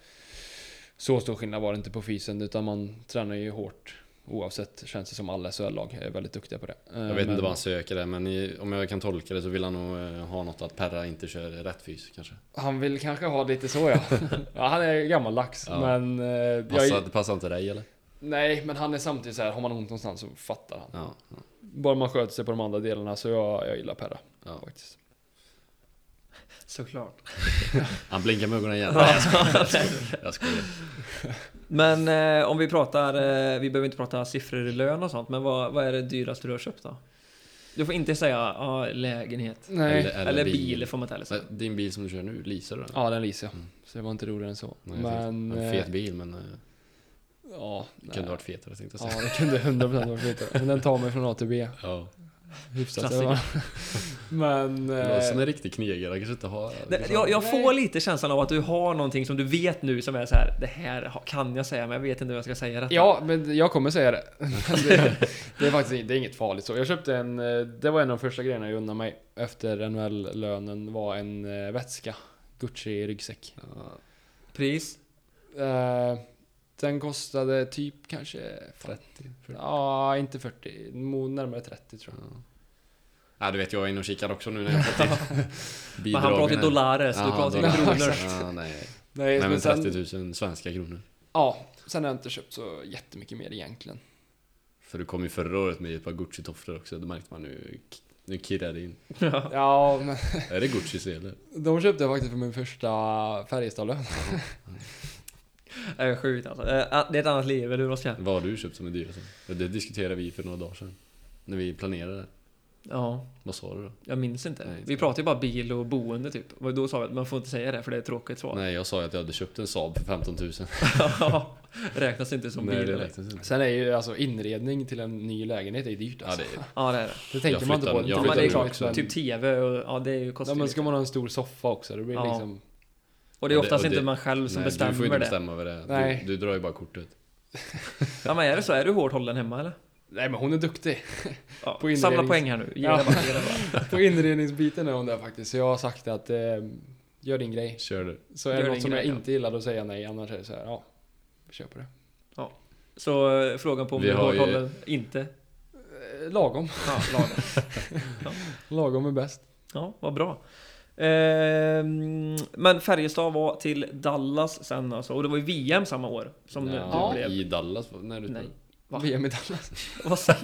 Så stor skillnad var det inte på fysen utan man tränar ju hårt oavsett känns det som alla SHL-lag är väldigt duktiga på det. Eh, Jag vet men- inte vad han söker där, men i, om jag kan tolka det så vill han nog eh, ha något att Perra inte kör rätt fys kanske. Han vill kanske ha lite så ja. ja han är gammaldags Ja. men... eh, Passar, jag, Det passar inte dig eller? nej men han är samtidigt så här, har man ont någonstans så fattar han. Ja. Bara man sköter sig på de andra delarna så jag, jag gillar Perra. ja. Faktiskt. Såklart. Han blinkar med ögonen igen. Nej, jag skojar. Jag skojar. Jag skojar. Men eh, om vi pratar, eh, vi behöver inte prata siffror i lön och sånt, men vad, vad är det dyraste du har köpt då? Du får inte säga ja, lägenhet. Nej. Eller- Eller, bil. får man inte heller säga. Men Din bil som du kör nu, leasar du den? Ja den leasade jag. Så det var inte roligare än så. Mm. Nej, men... det är En fet eh, bil men eh, Ja. det nej. kunde varit fetare tänkte jag Ja säga. det kunde 100% varit fet. Men den tar mig från A till B. Ja. Hyfsat. Klassiker. va? men... eh, Men Som en riktig knegare kanske inte har... liksom- Det, jag jag får lite känslan av att du har någonting som du vet nu som är så här. Det här ha- kan jag säga men jag vet inte hur jag ska säga detta. Ja, men jag kommer säga det. det, det är faktiskt det är inget farligt så. Jag köpte en, eh, det var en av de första grejerna jag unnade mig efter NHL-lönen var en eh, vätska. Gucci-ryggsäck. Ja, Pris? Eh, Den kostade typ kanske... 30, 40. Ja, inte 40. mo- Närmare 30 tror jag. Ja. Ja, du vet jag är inne och kikar också nu när jag har fått till Men han pratar ju dollares, du pratar ju dollar. kronor. Exakt. Ja, nej. Nej, nej men sen, 30 000 svenska kronor. ja, sen har jag inte köpt så jättemycket mer egentligen. För du kom ju förra året med ett par Gucci-tofflor också, det märkte man nu. Nu kirrar det in. Ja, men Är det Guccis eller? de köpte jag faktiskt för min första Färjestadlön. Det är sjukt alltså. Eh, Det är ett annat liv, eller hur Oskar? Vad har du köpt som är dyrast? Det diskuterade vi för några dagar sedan. När vi planerade. Ja, Vad sa du då? jag minns inte. Nej, inte. vi pratar ju bara bil och boende typ. Och då sa vi att man får inte säga det för det är ett tråkigt svar. Nej, jag sa ju att jag hade köpt en Saab för 15 000. Ja, Räknas inte som liksom. Nej, bil. det eller? räknas inte. Sen är ju alltså inredning till en ny lägenhet är ju dyrt Ja, alltså. det är Ja, det är det. Det tänker Jag man inte på. flyttar- jag Ja, Inte men flyttar det är utan nu klart, också en- typ tv och ja, det är ju Ja, kostar men lite. ska man ha en stor soffa också, det blir Ja. liksom... Och det är och det- oftast och det- inte man själv som Nej, du får bestämmer inte det. bestämma över det. Nej. Du, du drar ju bara kortet. Ja men är det så? Är du hårt hållen hemma eller? Nej men hon är duktig. Ja. På Samla inrednings- poäng här nu. Ge Ja. det bara, ge det bara. På inredningsbiten är hon där faktiskt, så jag har sagt att eh, gör din grej. Kör du. Så är Gör det något din som grej, jag ja. inte gillar, då säger jag nej. Annars är det så här, ja. Kör på det. Så eh, frågan på om Vi du är har hårt ju- hållen? Inte? Eh, lagom. Ja, lagom. Lagom är bäst. Ja, vad bra. Ehm, men Färjestad var till Dallas sen alltså, och det var ju VM samma år som nu ja, det blev. I Dallas? När du Nej. Va? VM i Dallas. Vad säger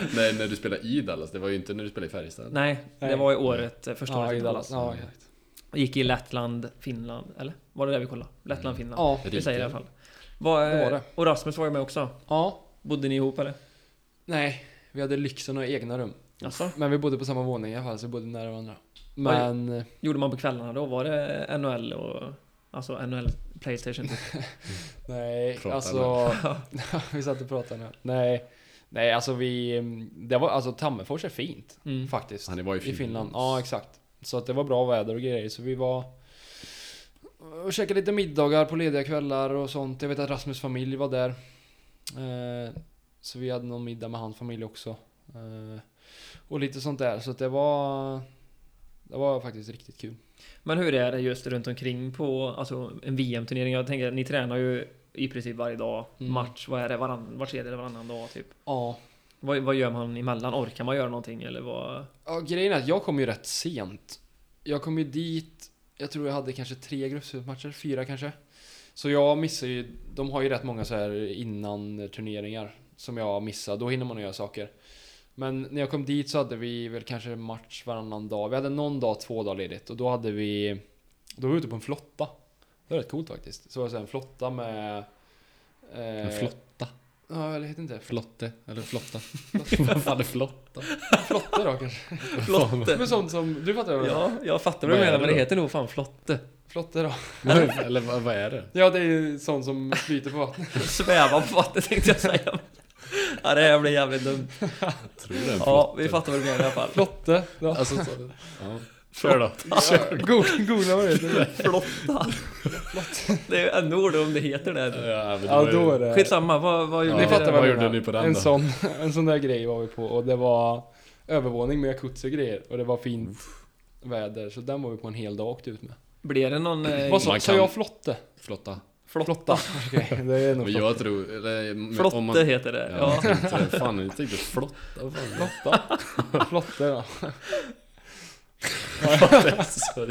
du? Nej, när du spelade i Dallas. Det var ju inte när du spelade i Färjestad. Nej, det Nej. var i året, eh, första året Ja, i Dallas. Dallas. Ja, exakt. Gick i Lettland, Finland, eller? Var det där vi kollade? Lettland, Finland? Ja, Vi säger i alla Rike. fall. Vad, Det eh, var det. Och Rasmus var ju med också. ja. Bodde ni ihop eller? Nej. Vi hade lyxen och egna rum. Alltså, Men vi bodde på samma våning i alla fall, så vi bodde nära varandra. Vad gör- Men... eh, gjorde man på kvällarna då? Var det NHL och... Alltså NHL Playstation? Mm. typ? Nej, Prata alltså... vi satt och pratade nu. Nej. Nej, alltså vi... Det var, alltså Tammerfors är fint. Mm. Faktiskt. Han var ju I Finland. Ja, exakt. Så att det var bra väder och grejer. Så vi var... Och käkade lite middagar på lediga kvällar och sånt. Jag vet att Rasmus familj var där. Eh, Så vi hade någon middag med hans familj också. Eh, Och lite sånt där. Så att det var... Det var faktiskt riktigt kul. Men hur är det just runt omkring på alltså, en VM-turnering? Jag tänker, ni tränar ju i princip varje dag. Mm. Match, vad är det? Varann, var tredje eller varannan dag typ? Ja. Vad, vad gör man emellan? Orkar man göra någonting eller vad? Ja, grejen är att jag kom ju rätt sent. Jag kom ju dit, jag tror jag hade kanske tre gruppspelsmatcher, fyra kanske. Så jag missar ju, de har ju rätt många så här innan turneringar som jag missar, då hinner man ju göra saker. Men när jag kom dit så hade vi väl kanske match varannan dag. Vi hade någon dag två dagar ledigt och då hade vi, då var vi ute på en flotta. Det var rätt coolt faktiskt. Så var det så här en flotta med... eh, En flotta? Ja, eller heter inte det? Flotte, eller flotta. Vad fan är flotta? Flotte då kanske? Flotte. Men sånt som, du fattar vad jag menar? Ja, jag fattar vad du Vad menar är det men det då? heter nog fan flotte. Flotte då? eller vad, vad är det? Ja, det är ju sånt som flyter på vattnet. Sväva på vattnet tänkte jag säga. Ja, det här blir jävligt dumt. Jag tror det är en Ja, flotte. vi fattar vad du menar i alla fall. Flotte? Ja. Alltså, så, ja. Kör då. Go- Googla vad det heter. Flotta. Det är ju ännu ord om det heter det. Ja, men Ja, var ju- då är det... Eh, Skitsamma, vad, vad gjorde Ni Ja, ni fattar vad vad jag gjorde menar. ni på den en då? sån, en sån där grej var vi på och det var övervåning med jacuzzi och grejer och det var fint väder så den var vi på en hel dag och åkte ut med. Blir det någon... eh, Vad sa man sa kan- jag flotte? Flotta. Flotta. Okej, det är nog Men flotte. jag tror... Eller, om Flotte man- heter det. Ja, Ja. jag tänkte det. Fan, jag tänkte flotta. vad fan. Flotta? flotte då. det är så,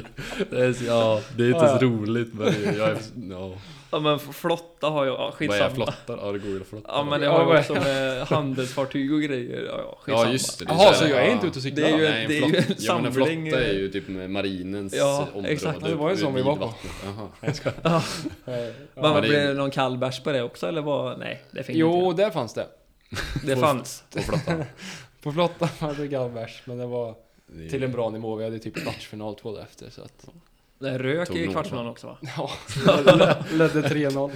det är så, ja, det är inte Ja, så ja. roligt men jag är... Ja, ja, men flotta har jag... Ja, vad är skitsamma. flottar? Ja, det går ju att flotta. Ja, men det Ja, har vad ju är- också med handelsfartyg och grejer. Ja, ja, skitsamma. ja just det. det. Jaha, här, så jag är ja. inte ute och cyklar? Det är ju- då? Nej, en det flott- ju en ja, men en samling, flotta är eh, ju typ med marinens Ja, område. exakt. Ja, det var ju en sån vi var på. Vidvattnet. Jaha. Nej. Men Ja, vad det- blir det någon kall bärs på det också eller vad? Nej, det finns Jo, inte. där fanns det. Det fanns. På flottan. På flottan fanns det gallbärs men det var till en bra nivå. Vi hade typ kvartsfinal två dagar efter så att... Det rök Tog i någon. kvartsfinalen också va? Ja, ledde- ledde 3-0.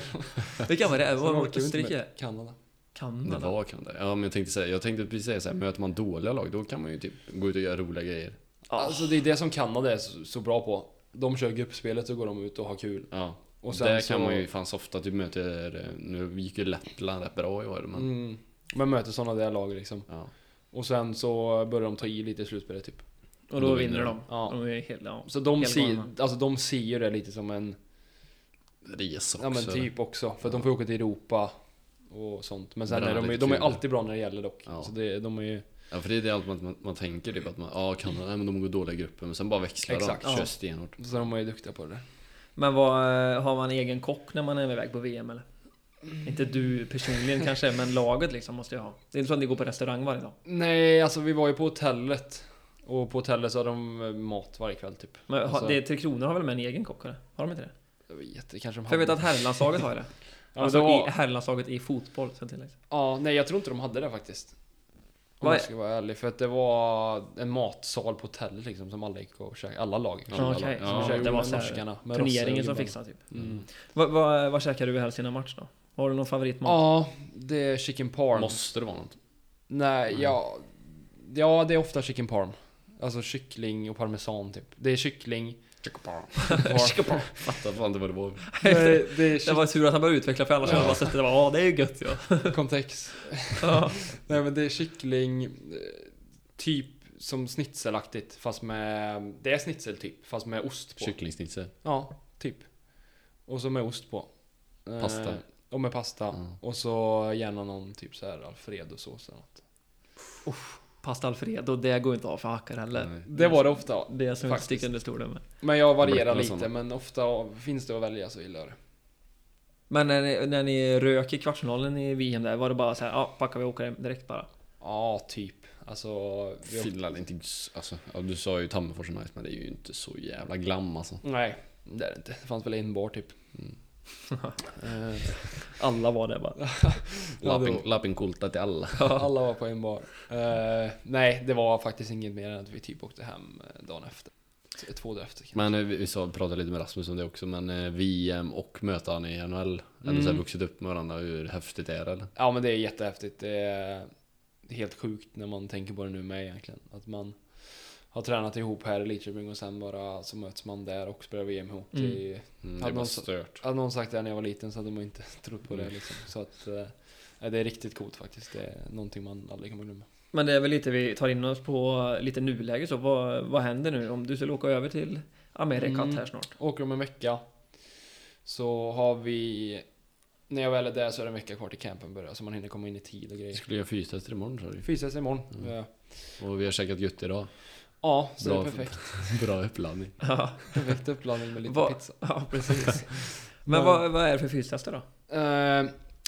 Vilka var det? Var Sen det orkade vi inte Österrike? med Kanada. Det Kanada? var kan det. Ja, men jag tänkte säga, jag tänkte precis säga så här, möter man dåliga lag då kan man ju typ gå ut och göra roliga grejer. Ja. Alltså det är det som Kanada är så, så bra på. De kör gruppspelet så går de ut och har kul. Ja. Och Och sen där så- kan man ju fan softa, typ möter, eh, nu gick ju Lettland rätt bra i år men... Mm. Men möter sådana där lag liksom. Ja. Och sen så börjar de ta i lite i slutspelet typ. Och då vinner de. Ja. De är helt, ja. Så de Helt ser, galna. alltså de ser ju det lite som en, Res också. ja men typ också. För att de får åka till Europa och sånt. Men sen Bränna är de, ju- lite de är kul. alltid bra när det gäller dock. Ja. Så det, de är ju, Ja för det är det allt man, man, man tänker typ att man, ja Kanada, nej men de går dåliga i gruppen men sen bara växlar Exakt. de, Ja. kör stenhårt. så de är ju duktiga på det där. Men vad, eh, har man egen kock när man är iväg på VM eller? Inte du personligen kanske, men laget liksom måste ju ha. Det är inte så att ni går på restaurang varje dag. Nej, alltså vi var ju på hotellet. Och på hotellet så har de eh, mat varje kväll typ. Men har- Alltså- det, Tre Kronor har väl med en egen kock eller? Har de inte det? Jag vet, det kanske de För jag vet hade. att herrlandslaget har det. ja, alltså alltså, var, i herrlandslaget i fotboll. Så liksom. tilläggs. ja, nej jag tror inte de hade det faktiskt. Om Vad- jag ska vara ärlig. För att det var en matsal på hotellet liksom som alla gick och käkade. Alla lag. Ja, okej. Som vi Ja, Så käkade det var med så här norskarna. med turneringen Rosse som och fixade typ. gubbarna. Mm. Vad, vad, vad käkar du helst innan match då? Har du någon favoritmat? Ja, det är chicken parm. Måste det vara något? Nej, ja. Ja, det är ofta chicken parm. Alltså kyckling och parmesan typ. Det är kyckling. Chicken parm. Fattar fan inte vad det var. Nej, det är Det var tur att han började utveckla för annars hade jag bara sett det. Ja, det är ju gött ja. kycklingkontext. ja. Nej men det är kyckling, eh, typ som schnitzelaktigt fast med... Det är schnitzel typ, fast med ost på. Kycklingsnitse. Ja, typ. Och så med ost på. Eh, Pasta. Och med pasta. Mm. Och så gärna någon typ så här alfredosås eller något. Pasta Alfredo, det går inte av för hackar heller. Nej. Det var det ofta. Det är som inte Faktiskt. sticker under stolen med. Men jag Blöta varierar Mm. och lite, sådana. men ofta finns det att välja så gillar jag det. Men när ni, när ni rök i kvartsfinalen i VM där, var det bara så här, ja packar vi och åker hem direkt bara? Ja, typ. Alltså... Vi åkte... Finland är inte, alltså, ja, du sa ju Tammerfors är nice men det är ju inte så jävla glam alltså. Nej, det är det inte. Det fanns väl en bar typ. Mm. Eh, Alla var där bara. Ja, det var- Lappin- Lappinkulta till alla. Alla var på en bar. Eh, nej, det var faktiskt inget mer än att vi typ åkte hem eh, dagen efter. T- Två dagar efter. Men eh, vi, vi sa, pratade lite med Rasmus om det också men eh, VM och möta han i NHL. Eller så här Mm. vuxit upp med varandra, hur häftigt är det eller? Mm, Ja, men det är jättehäftigt. Det är det är helt sjukt när man tänker på det nu med egentligen. Att man har tränat ihop här i Lidköping och sen bara så möts man där och spelar VM ihop. Mm. Det, Mm, det Hade var någon så- stört. hade någon sagt det här när jag var liten så hade man inte trott på det Mm. liksom. Så att eh, nej, det är riktigt coolt faktiskt. Det är någonting man aldrig kommer glömma. Men det är väl lite vi tar in oss på lite nuläge så. Vad, vad händer nu om du skulle åka över till Amerikat Mm. här snart? Åker om en vecka så har vi när jag väl är där så är det en vecka kvar till campen börjar så man hinner komma in i tid och Vi grejer. skulle göra fystester imorgon sa du Fysiskt imorgon. Mm. Ja. Och vi har käkat gött idag. Ja, så Bra. det är perfekt. Bra uppladdning. Ja, Perfekt uppblandning med lite Vad- pizza. ja precis. Men Men- vad, vad är det för fystester då? Eh,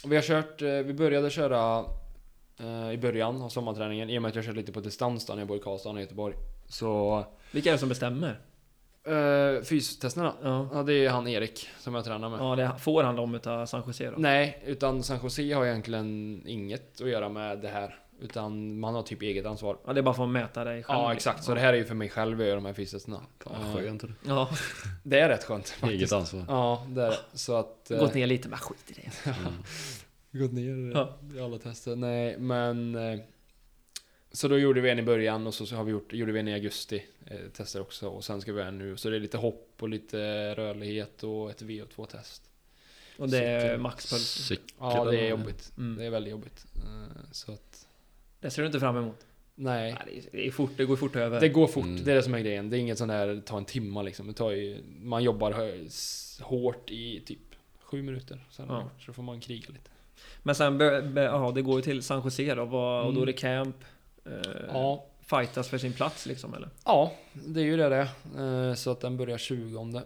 vi har kört, eh, vi började köra eh, i början av sommarträningen i och med att jag körde lite på distans då när jag bor i Karlstad och i Göteborg. Så Vilka är det som bestämmer? eh, fystesterna. Ja. Ja, det är han Erik som jag tränar med. Ja, det får han dem utav San Jose då. Nej, utan San Jose har egentligen inget att göra med det här. Utan man har typ eget ansvar. Ja, det är bara för att mäta dig själv. Ja, liksom. exakt. Så det här är ju för mig själv jag gör de här fystesterna. Eh, Fan, skönt. Ja, Det är rätt skönt faktiskt. Eget ansvar. Ja, det är det. Så att... eh, gått ner lite, men skit i det. Mm. Gått ner Ja. i alla tester. Nej, men... eh, Så då gjorde vi en i början och så har vi gjort, gjorde vi en i augusti. Eh, tester också och sen ska vi göra en nu. Så det är lite hopp och lite rörlighet och ett VO2-test. Och det är Cykel. maxpuls. Ja, det är jobbigt. Mm. Det är väldigt jobbigt. Eh, Så att... Det ser du inte fram emot. Nej. Nej, det, är- det, är fort, det går fort över. Det går fort, Mm. det är det som är grejen. Det är inget sån där, ta en timma liksom. Det tar ju, man jobbar hö- s- hårt i typ sju minuter. Sen Ja. ja. Så får man kriga lite. Men sen, bör- be- ja, det går ju till San Jose då, vad, och då är det camp. Eh, Mm. Ja, Fightas för sin plats liksom, eller? ja det är ju det det är. Eh, Så att den börjar 20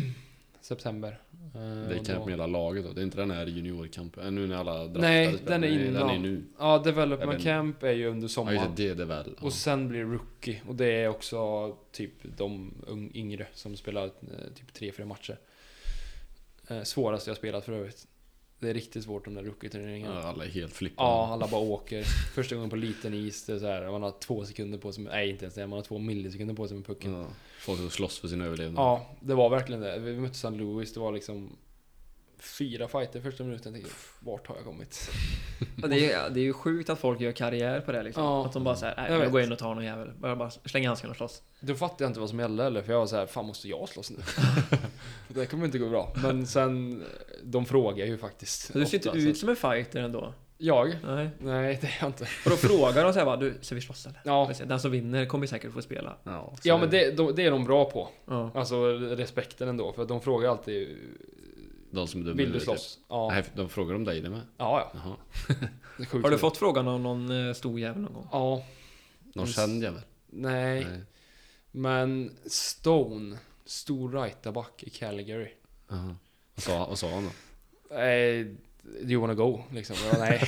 september. Eh, Det är och camp då- med hela laget då. Det är inte den här juniorkampen. eh, Nu när alla draftade Nej, spelar. den är Den är innan. nu. Ja, Jag vet development inte. camp är ju under Ja sommaren. just det, det är det väl. Ja. Och sen blir det rookie och det är också typ de ung- yngre som spelar eh, typ tre fyra matcher. Eh, Svåraste jag spelat för övrigt. Det är riktigt svårt de där rookie-turneringarna. Ja, alla är helt flippade. Ja, alla bara åker. Första gången på liten is, det är så här, man har två sekunder på sig. med- Nej, inte ens det. Man har två millisekunder på sig med pucken. Ja. Folk som slåss för sin överlevnad. Ja, det var verkligen det. Vi mötte St. Louis, det var liksom fyra fighter första minuten. Jag tänkte, vart har jag kommit? Ja, Det är, det är ju sjukt att folk gör karriär på det liksom. Ja. Att de bara såhär, nej Jag jag, vet. går in och tar någon jävel. Bara, bara slänga handskarna och slåss. Då fattade jag inte vad som gällde eller för jag var så här, fan måste jag slåss nu? det kommer inte gå bra. Men sen, de frågar ju faktiskt. Så du ser ofta, inte så ut att- som en fighter ändå. Jag? Nej. Nej, det är jag inte. Och då frågar de såhär bara, du, ska vi slåss eller? Ja, Den som vinner kommer säkert få spela. Ja, så ja är men det, de- det är de bra på. Ja. Alltså respekten ändå, för de frågar alltid, De som är dumma i vill du huvudet, slåss? typ. Ja. Nej, de frågar om dig det med. Ja, ja. Jaha. Det är sjukt Har du roligt. fått frågan av någon eh, stor jävel någon gång? Ja. Någon känd jävel? Nej. Nej. Men Stone, stor rightaback i Calgary. Jaha. Vad sa, vad sa han då? Nej, Eh, do you wanna go? Liksom. Jag bara, nej.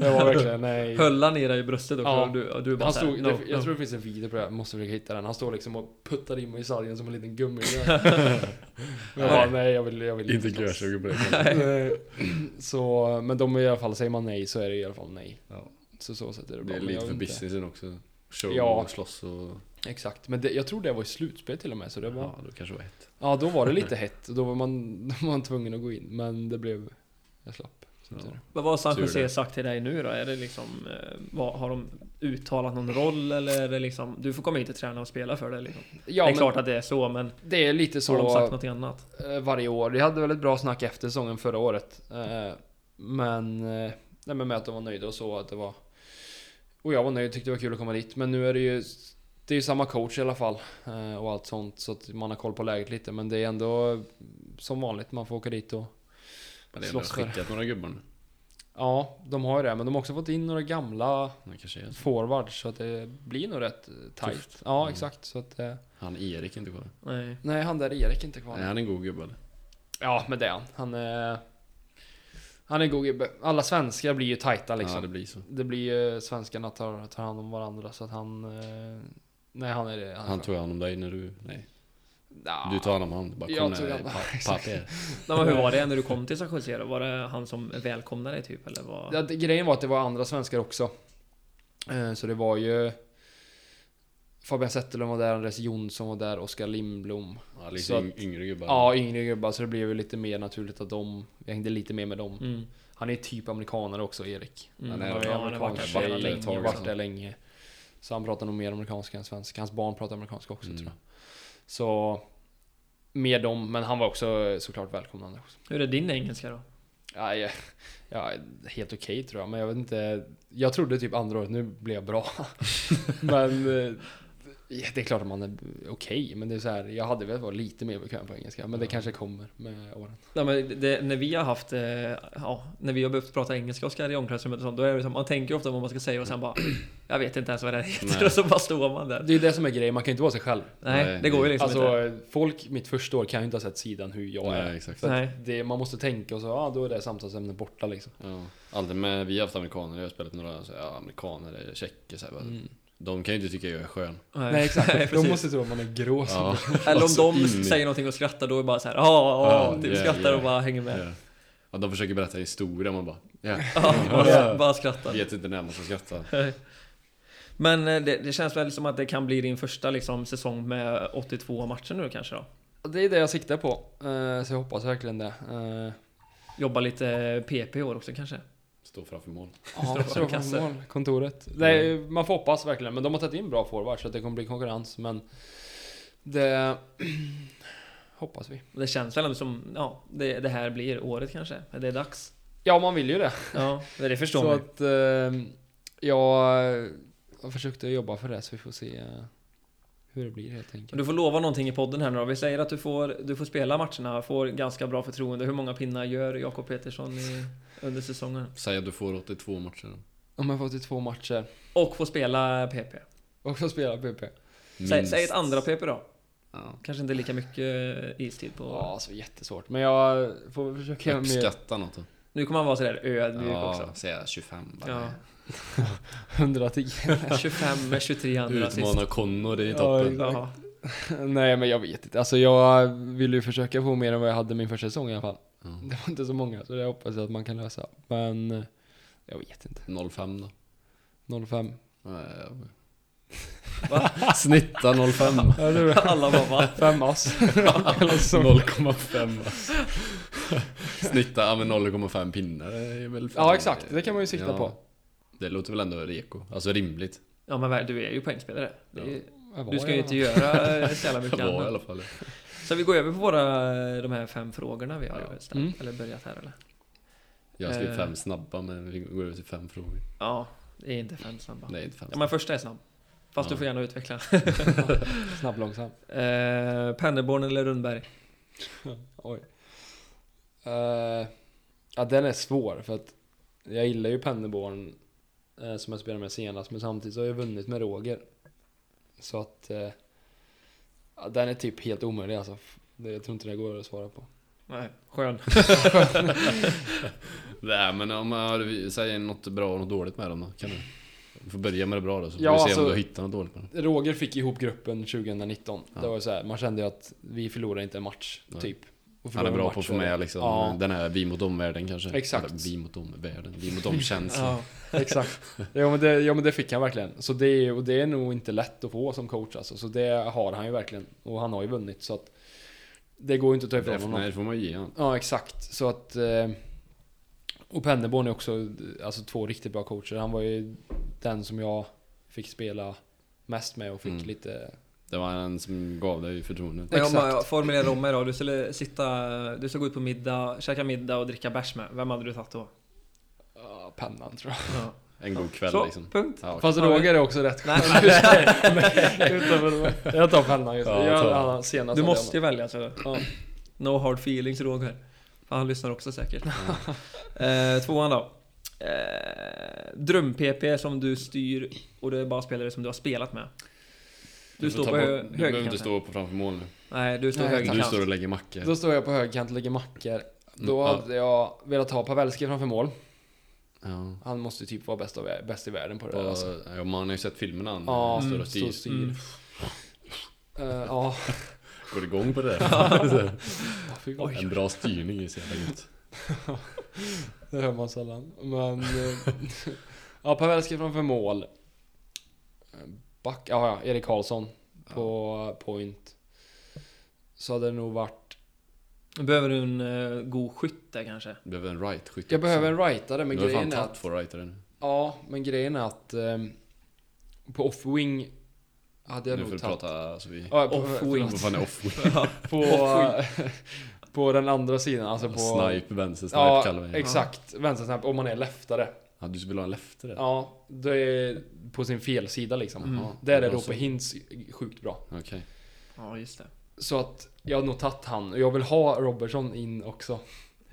det var verkligen nej. Höll han i dig i bröstet också? Ja. Och du, och du bara Han såhär, stod, no, det, jag no. tror det finns en video på det, här. jag måste försöka hitta den. Han står liksom och puttar in mig i sargen som en liten gummi. jag bara, nej jag vill, jag vill Inte slåss. görsugen på det. Nej. Så, men de är i alla fall, säger man nej så är det i alla fall nej. Ja. Så så sätt är det bra. Det är men lite jag vet för inte. businessen också. Show Ja. och slåss och... Exakt, men det, jag tror det var i slutspel till och med så det var... Ja, då kanske det var ett. Ja, då var det lite hett. Då var man, då var man tvungen att gå in. Men det blev... Jag slapp. som Ja. tur är. Vad har San Tur Jose det. sagt till dig nu då? Är det liksom, eh, vad, har de uttalat någon roll eller är det liksom, du får komma hit och träna och spela för det liksom. Ja, det är men klart att det är så men det är lite har de sagt så något annat? eh, varje år. Vi hade väl ett bra snack efter säsongen förra året. Eh, Men... eh, Nej, men med att de var nöjda och så. Att det var... Och jag var nöjd, tyckte det var kul att komma dit. Men nu är det ju... Det är ju samma coach i alla fall. eh, Och allt sånt. Så att man har koll på läget lite. Men det är ändå eh, som vanligt. Man får åka dit och... Men det är Slåss för. skickat några gubbar nu. Ja, de har ju det. Men de har också fått in några gamla Det kanske är så. forward så att det blir nog rätt eh, tight. Tufft. Ja, Mm. exakt. Så att, eh, Han Erik är inte kvar. Nej. nej, han där Erik är inte kvar. Nej, han är en god gubbe eller? Ja, men det är han. Han är, han är en god gubbe. Alla svenskar blir ju tajta liksom. Ja, det det... blir så. blir ju svenskarna tar, tar hand om varandra så att han... eh, Nej, han är det. Han tog hand om dig när du... Nej. Nja, Du tar hand om han. Bara Jag kom tog när hand om- pa- Exakt. pappa är. Nej men hur var det när du kom till San Jose då? Var det han som välkomnade dig typ eller? Var... Ja, det, grejen var att det var andra svenskar också. Eh, Så det var ju... Fabian Zetterlund var där, Andres Jonsson var där, Oskar Lindblom. Ja, lite Så att- yng- yngre gubbar. Ja, yngre gubbar, så det blev ju lite mer naturligt att de... Jag hängde lite mer med dem. Mm. Han är typ amerikanare också, Erik. Mm. Han Han är är ja, amerikansk han har varit där tjej, länge, liksom. ett tag varit också. där länge. Så han pratar nog mer amerikanska än svenska. Hans barn pratar amerikanska också Mm. tror jag. Så... Med dem, men han var också eh, såklart välkomnande också. Hur är din engelska då? Ja, jag, ja, helt okej tror jag, men jag vet inte. Jag trodde typ andra året, nu blev jag bra. men... eh, ja, Det är klart att man är okej, men det är så här, jag hade velat vara lite mer bekväm på engelska, men det kanske kommer med åren. Nej, men det, när vi har haft, eh, ja, när vi har behövt prata engelska Oskar i omklädningsrummet och sånt, då är det som, man tänker ofta vad man ska säga och sen bara, jag vet inte ens vad det heter Nej. och så bara står man där. Det är det som är grejen, man kan ju inte vara sig själv. Nej, Nej, det går ju det- liksom inte. Alltså folk mitt första år kan ju inte ha sett sidan hur jag Nej, är. exakt. Så att Nej. Det, man måste tänka och så, ja då är det samtalsämnet borta liksom. Mm. Ja. Alltid med, vi har haft amerikaner, jag har spelat med några så här, ja, amerikaner, eller tjecker så här, bara, De kan ju inte tycka jag är skön. Nej exakt, de precis. måste tro att man är grå som Ja. Eller om Alltså, de in i- säger någonting och skrattar, då är det bara så här, ja, Ja, ja, typ ja, skrattar ja. och bara hänger med. Ja. Ja, de försöker berätta en historia, man bara... Ja. Ja, bara, Ja. bara Jag skrattar. vet inte när man ska skratta. Men eh, det, det känns väl som att det kan bli din första liksom, säsong med 82 matcher nu kanske då? Det är det jag siktar på, eh, så jag hoppas verkligen det. Eh, Jobba lite PP i år också kanske? Stå framför mål. Står Ja, det står kasse? på mål, kontoret. Nej, man får hoppas verkligen, men de har tagit in bra forwards så att det kommer bli konkurrens, men det hoppas vi. Det känns väl ändå som, ja, det, det här blir året kanske? Det är dags? Ja, man vill ju det. Ja, det förstår Så man ju. att eh, jag, jag försökte jobba för det, så vi får se eh, hur det blir helt Men enkelt. Du får lova någonting i podden här nu då. Vi säger att du får, du får spela matcherna, får ganska bra förtroende. Hur många pinnar gör Jakob Petersson i, under säsongen? Säg att du får 82 matcher. Om jag fått i två matcher Och får spela PP. och får spela PP. Säg, Minst. säg ett andra PP då. Ja. Kanske inte lika mycket eh, istid på... Ja, så jättesvårt. Men jag får väl försöka göra mer. Uppskatta något då. Nu kommer han vara sådär ödmjuk Ja, också. säga 25 Ja. bara. 110. 25 med 23 andra assist. Utmana Connor i Ja, toppen. exakt. Ja. Nej, men jag vet inte. Alltså jag vill ju försöka få mer än vad jag hade min första säsong i alla fall. Ja. Det var inte så många, så det hoppas jag att man kan lösa. Men eh, jag vet inte. 05 då? 05. Nej, jag- Va? Snitta 05. Ja, det är Alla bara va? Fem ass. Eller så. 0,5 alltså. Snitta, ja men 0,5 pinnar är väl fan- Ja, exakt. Det kan man ju sikta på. Det låter väl ändå reko. Alltså rimligt. Ja men vad- du är ju poängspelare. Det är, ju- Jag var Du ska ju i inte alla göra eh, så jävla mycket Det var i annat. alla fall Så vi går över på våra, eh, de här fem frågorna vi har Ja. ställt. Mm. Eller börjat här eller? Jag skrev Eh. fem snabba men vi går över till fem frågor. Ja, det är inte fem snabba. Nej, inte fem Ja snabba. men första är snabb. Fast Ja. du får gärna utveckla. fall. Snabb långsam. Eh, Pennerborn eller Rundberg? Oj. Eh, ja, den är svår för att jag gillar ju Pennerborn eh, som jag spelade med senast, men samtidigt så har jag vunnit med Roger. Så att eh, ja, den är typ helt omöjlig alltså. Det, jag tror inte det går att svara på. Nej, skön. Nej men om jag säger något bra och något dåligt med dem då? Kan du? Vi får börja med det bra då så får Ja, vi se om alltså- du hittar något dåligt med dem. Roger fick ihop gruppen 2019. Ja. Det var ju så här, man kände ju att vi förlorade inte en match, Nej. typ. Och Han är förlorar bra en på att match få är- med liksom Ja, den här vi mot omvärlden kanske. Exakt. Eller, vi mot omvärlden. Vi mot omkänslan. Ja. exakt. Ja men, det, ja men det fick han verkligen. Så det, är- och det är nog inte lätt att få som coach alltså. Så det har han ju verkligen. Och han har ju vunnit så att det går ju inte att ta Det ifrån får, honom. nej, det får man ju ge honom. Ja, exakt. Så att... eh, Och Pennerborn är också alltså, två riktigt bra coacher. Han var ju den som jag fick spela mest med och fick Mm. lite... Det var han som gav dig förtroendet. Men om Exakt. jag formulerar om mig då. Du skulle sitta, du skulle gå ut på middag, käka middag och dricka bärs med. Vem hade du tagit då? Ja, pennan tror jag. Ja. En god kväll Så, liksom. Alltså, punkt. Ja, Fast Ja, men- Roger är också rätt Nej, skön. Men- utanför- Jag tar pennan just nu. Ja, jag ta. han senast Du hade måste jag ju välja så. Ja. No hard feelings Roger. För han lyssnar också säkert. eh, tvåan då. Eh, Dröm-PP som du styr och det är bara spelare som du har spelat med. Du, får står ta på bort- hö- Du behöver inte högerkanten. stå på framför mål nu. Nej, du står Nej, Du högerkant. står och lägger mackor. med. Då står jag på högerkant och lägger mackor. Då Mm, ja. hade jag velat ha Pavelski framför mål. Ja. Han måste ju typ vara bäst, av, bäst i världen på det där, Och, alltså. ja, man har ju sett filmerna han Ja, står mm, och står styr. och styr. Eh, Ja, Går igång på det där. fy fan. en bra styrning är så jävla gött. Det hör man sällan. Men... eh, ja, Pavelski framför mål. Back... Ja, ja, Erik Karlsson på point. Så hade det nog varit... Du behöver du en eh, god skytt där kanske. Du behöver en right skytt Jag behöver en rightare, men Du har fan grejen är att... tagit två rightare nu. Ja, men grejen är att... ehm, på off-wing hade jag Nu får nog du tagit... prata alltså vi... Ja, på, Off-wing. Vad fan är off På, på den andra sidan, alltså på... Snipe, vänster snipe kallar Ja, vi det. exakt. Vänstersnap, om man är leftare. Ja, du vill ha en leftare? Ja, det är på sin felsida liksom. Mm. Ja, Där är bra Rope så. Hintz sjukt bra. Okej. Ja, just det. Så att jag har nog tagit han och jag vill ha Robertson in också.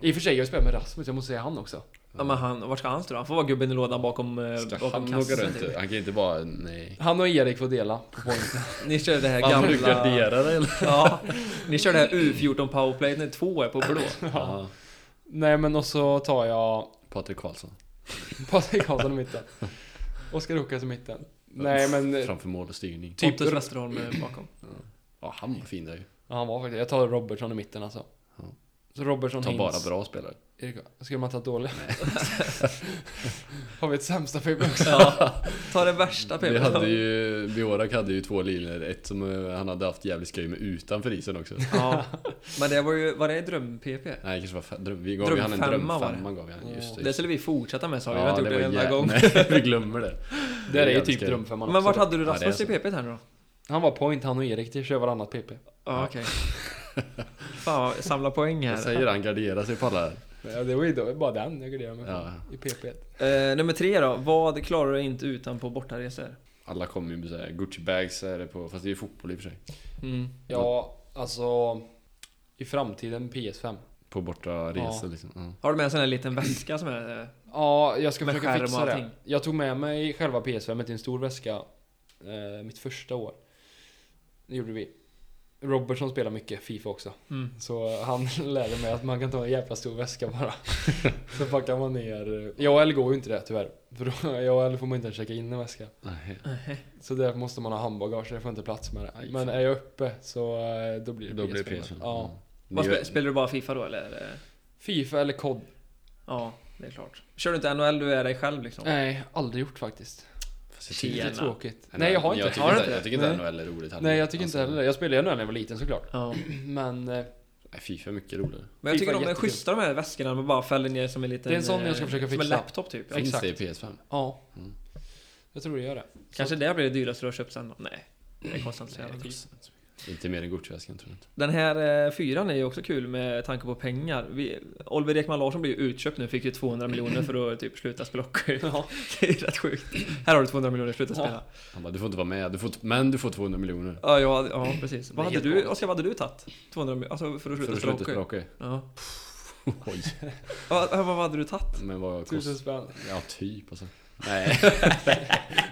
I och för sig, jag spelar med Rasmus, jag måste säga han också. Ja, men han, vart ska han stå då? Han får vara gubben i lådan bakom, eh, Ska bakom han åka kassen. runt? Typ. Han kan inte bara... Nej. Han och Erik får dela på poängen. Ni kör det här Han brukar gamla... gardera dig eller? Ja, ni kör det här U14 powerplay när två är på blå. Ja. Nej men och så tar jag Patrik Karlsson. Patrik Karlsson i mitten. Oskar Rukas i mitten. Nej men... eh, Framför mål och styrning. Typ- Pontus Westerholm är bakom. Ja, han var fin där ju. Ja, han var faktiskt... Jag tar Robertson i mitten alltså. Ja. Så Robertson Ta bara Hintz. bra spelare. Erik, Ska man ta dåliga? Har vi ett sämsta PP också? Ja, ta det värsta PP. Vi hade ju, Biorak hade ju två linjer. Ett som eh, han hade haft jävligt skoj med utanför isen också. Ja. Men det var ju, var det dröm-PP? Nej, kanske var fem, dröm, vi gav ju han en Drömfemma var det. drömfemma. Gav vi han, just Det skulle vi fortsätta med sa vi, vi Ja, har inte det gjort det en var enda jä- gång. Nej, vi glömmer det. Det är ju Jävligt typ skoj. drömfemman Men vart också. hade du Ja, det är Rasmus i så. PP här nu då? Han var point, han och Erik. Det kör varannat PP. Ja, okej. Fan, jag samlar poäng Jag här. säger han garderar sig på alla här. Ja, det var ju då, bara den jag garderade mig för. Ja. I PP. Eh, nummer tre då. Vad klarar du inte utan på bortaresor? Alla kommer ju med så här Gucci bags är det på, fast det är ju fotboll i och för sig. Mm. Ja, alltså... I framtiden PS5. På borta resor Ja. liksom. Ja. Har du med en sån här liten väska som är... eh, Ja, jag ska Med skärm försöka och fixa det. allting. Jag tog med mig själva PS5 i en stor väska eh, mitt första år. Det gjorde vi. Robertson spelar mycket Fifa också. Mm. Så han lärde mig att man kan ta en jävla stor väska bara. så packar man ner. eh, Jag eller går ju inte det tyvärr. För då, jag eller får man inte ens checka in en väska. Nej. Så där måste man ha handbagage, jag får inte plats med Aj, det. Men är jag uppe så eh, då blir det Mm. Då blir det PS5. PS5. Ja. Vad Ni- spe, spelar du bara Fifa då eller? Fifa eller COD? Ja, det är klart. Kör du inte NHL, du är dig själv liksom? Nej, aldrig gjort faktiskt. Fast jag tycker- Tjena. Det är tråkigt. Nej, jag har inte. Jag tycker Har du inte, inte? jag tycker inte Nej. NHL är roligt heller. Nej, jag tycker inte Alltså, heller det. Jag spelade ju NHL när jag var liten såklart. Ja. Men eh, nej, Fifa är mycket roligare. Men jag Fifa tycker de är är jättekul. schyssta de här väskorna, man bara fäller ner som en liten... Det är en sån jag ska eh, försöka Som en fixa. laptop typ. Ja. Fix- Finns Exakt. det i PS5? ja. Mm. Jag tror det gör det. Kanske det blir det dyraste du har köpt sen då? Nej. Det kostar inte så jävla mycket. Inte mer än Gucci-väskan tror jag inte. Den här eh, fyran är ju också kul med tanke på pengar. Vi, Oliver Ekman Larsson blir ju utköpt nu, fick ju 200 miljoner för att typ sluta spela hockey. Ja. Det är rätt sjukt. Här har du 200 miljoner, sluta Ja. spela. Han bara, du får inte vara med, du får, t- men du får 200 miljoner. Ja, ja, ja precis. Vad Det är hade du, helt Oskar, vad hade du tagit? 200 miljoner, alltså för att För sluta att spela sluta hockey? spela hockey. Ja. Oj. Vad, vad vad hade du tagit? Men vad kostar Tusen spänn. Ja, typ alltså. Nej. Nej,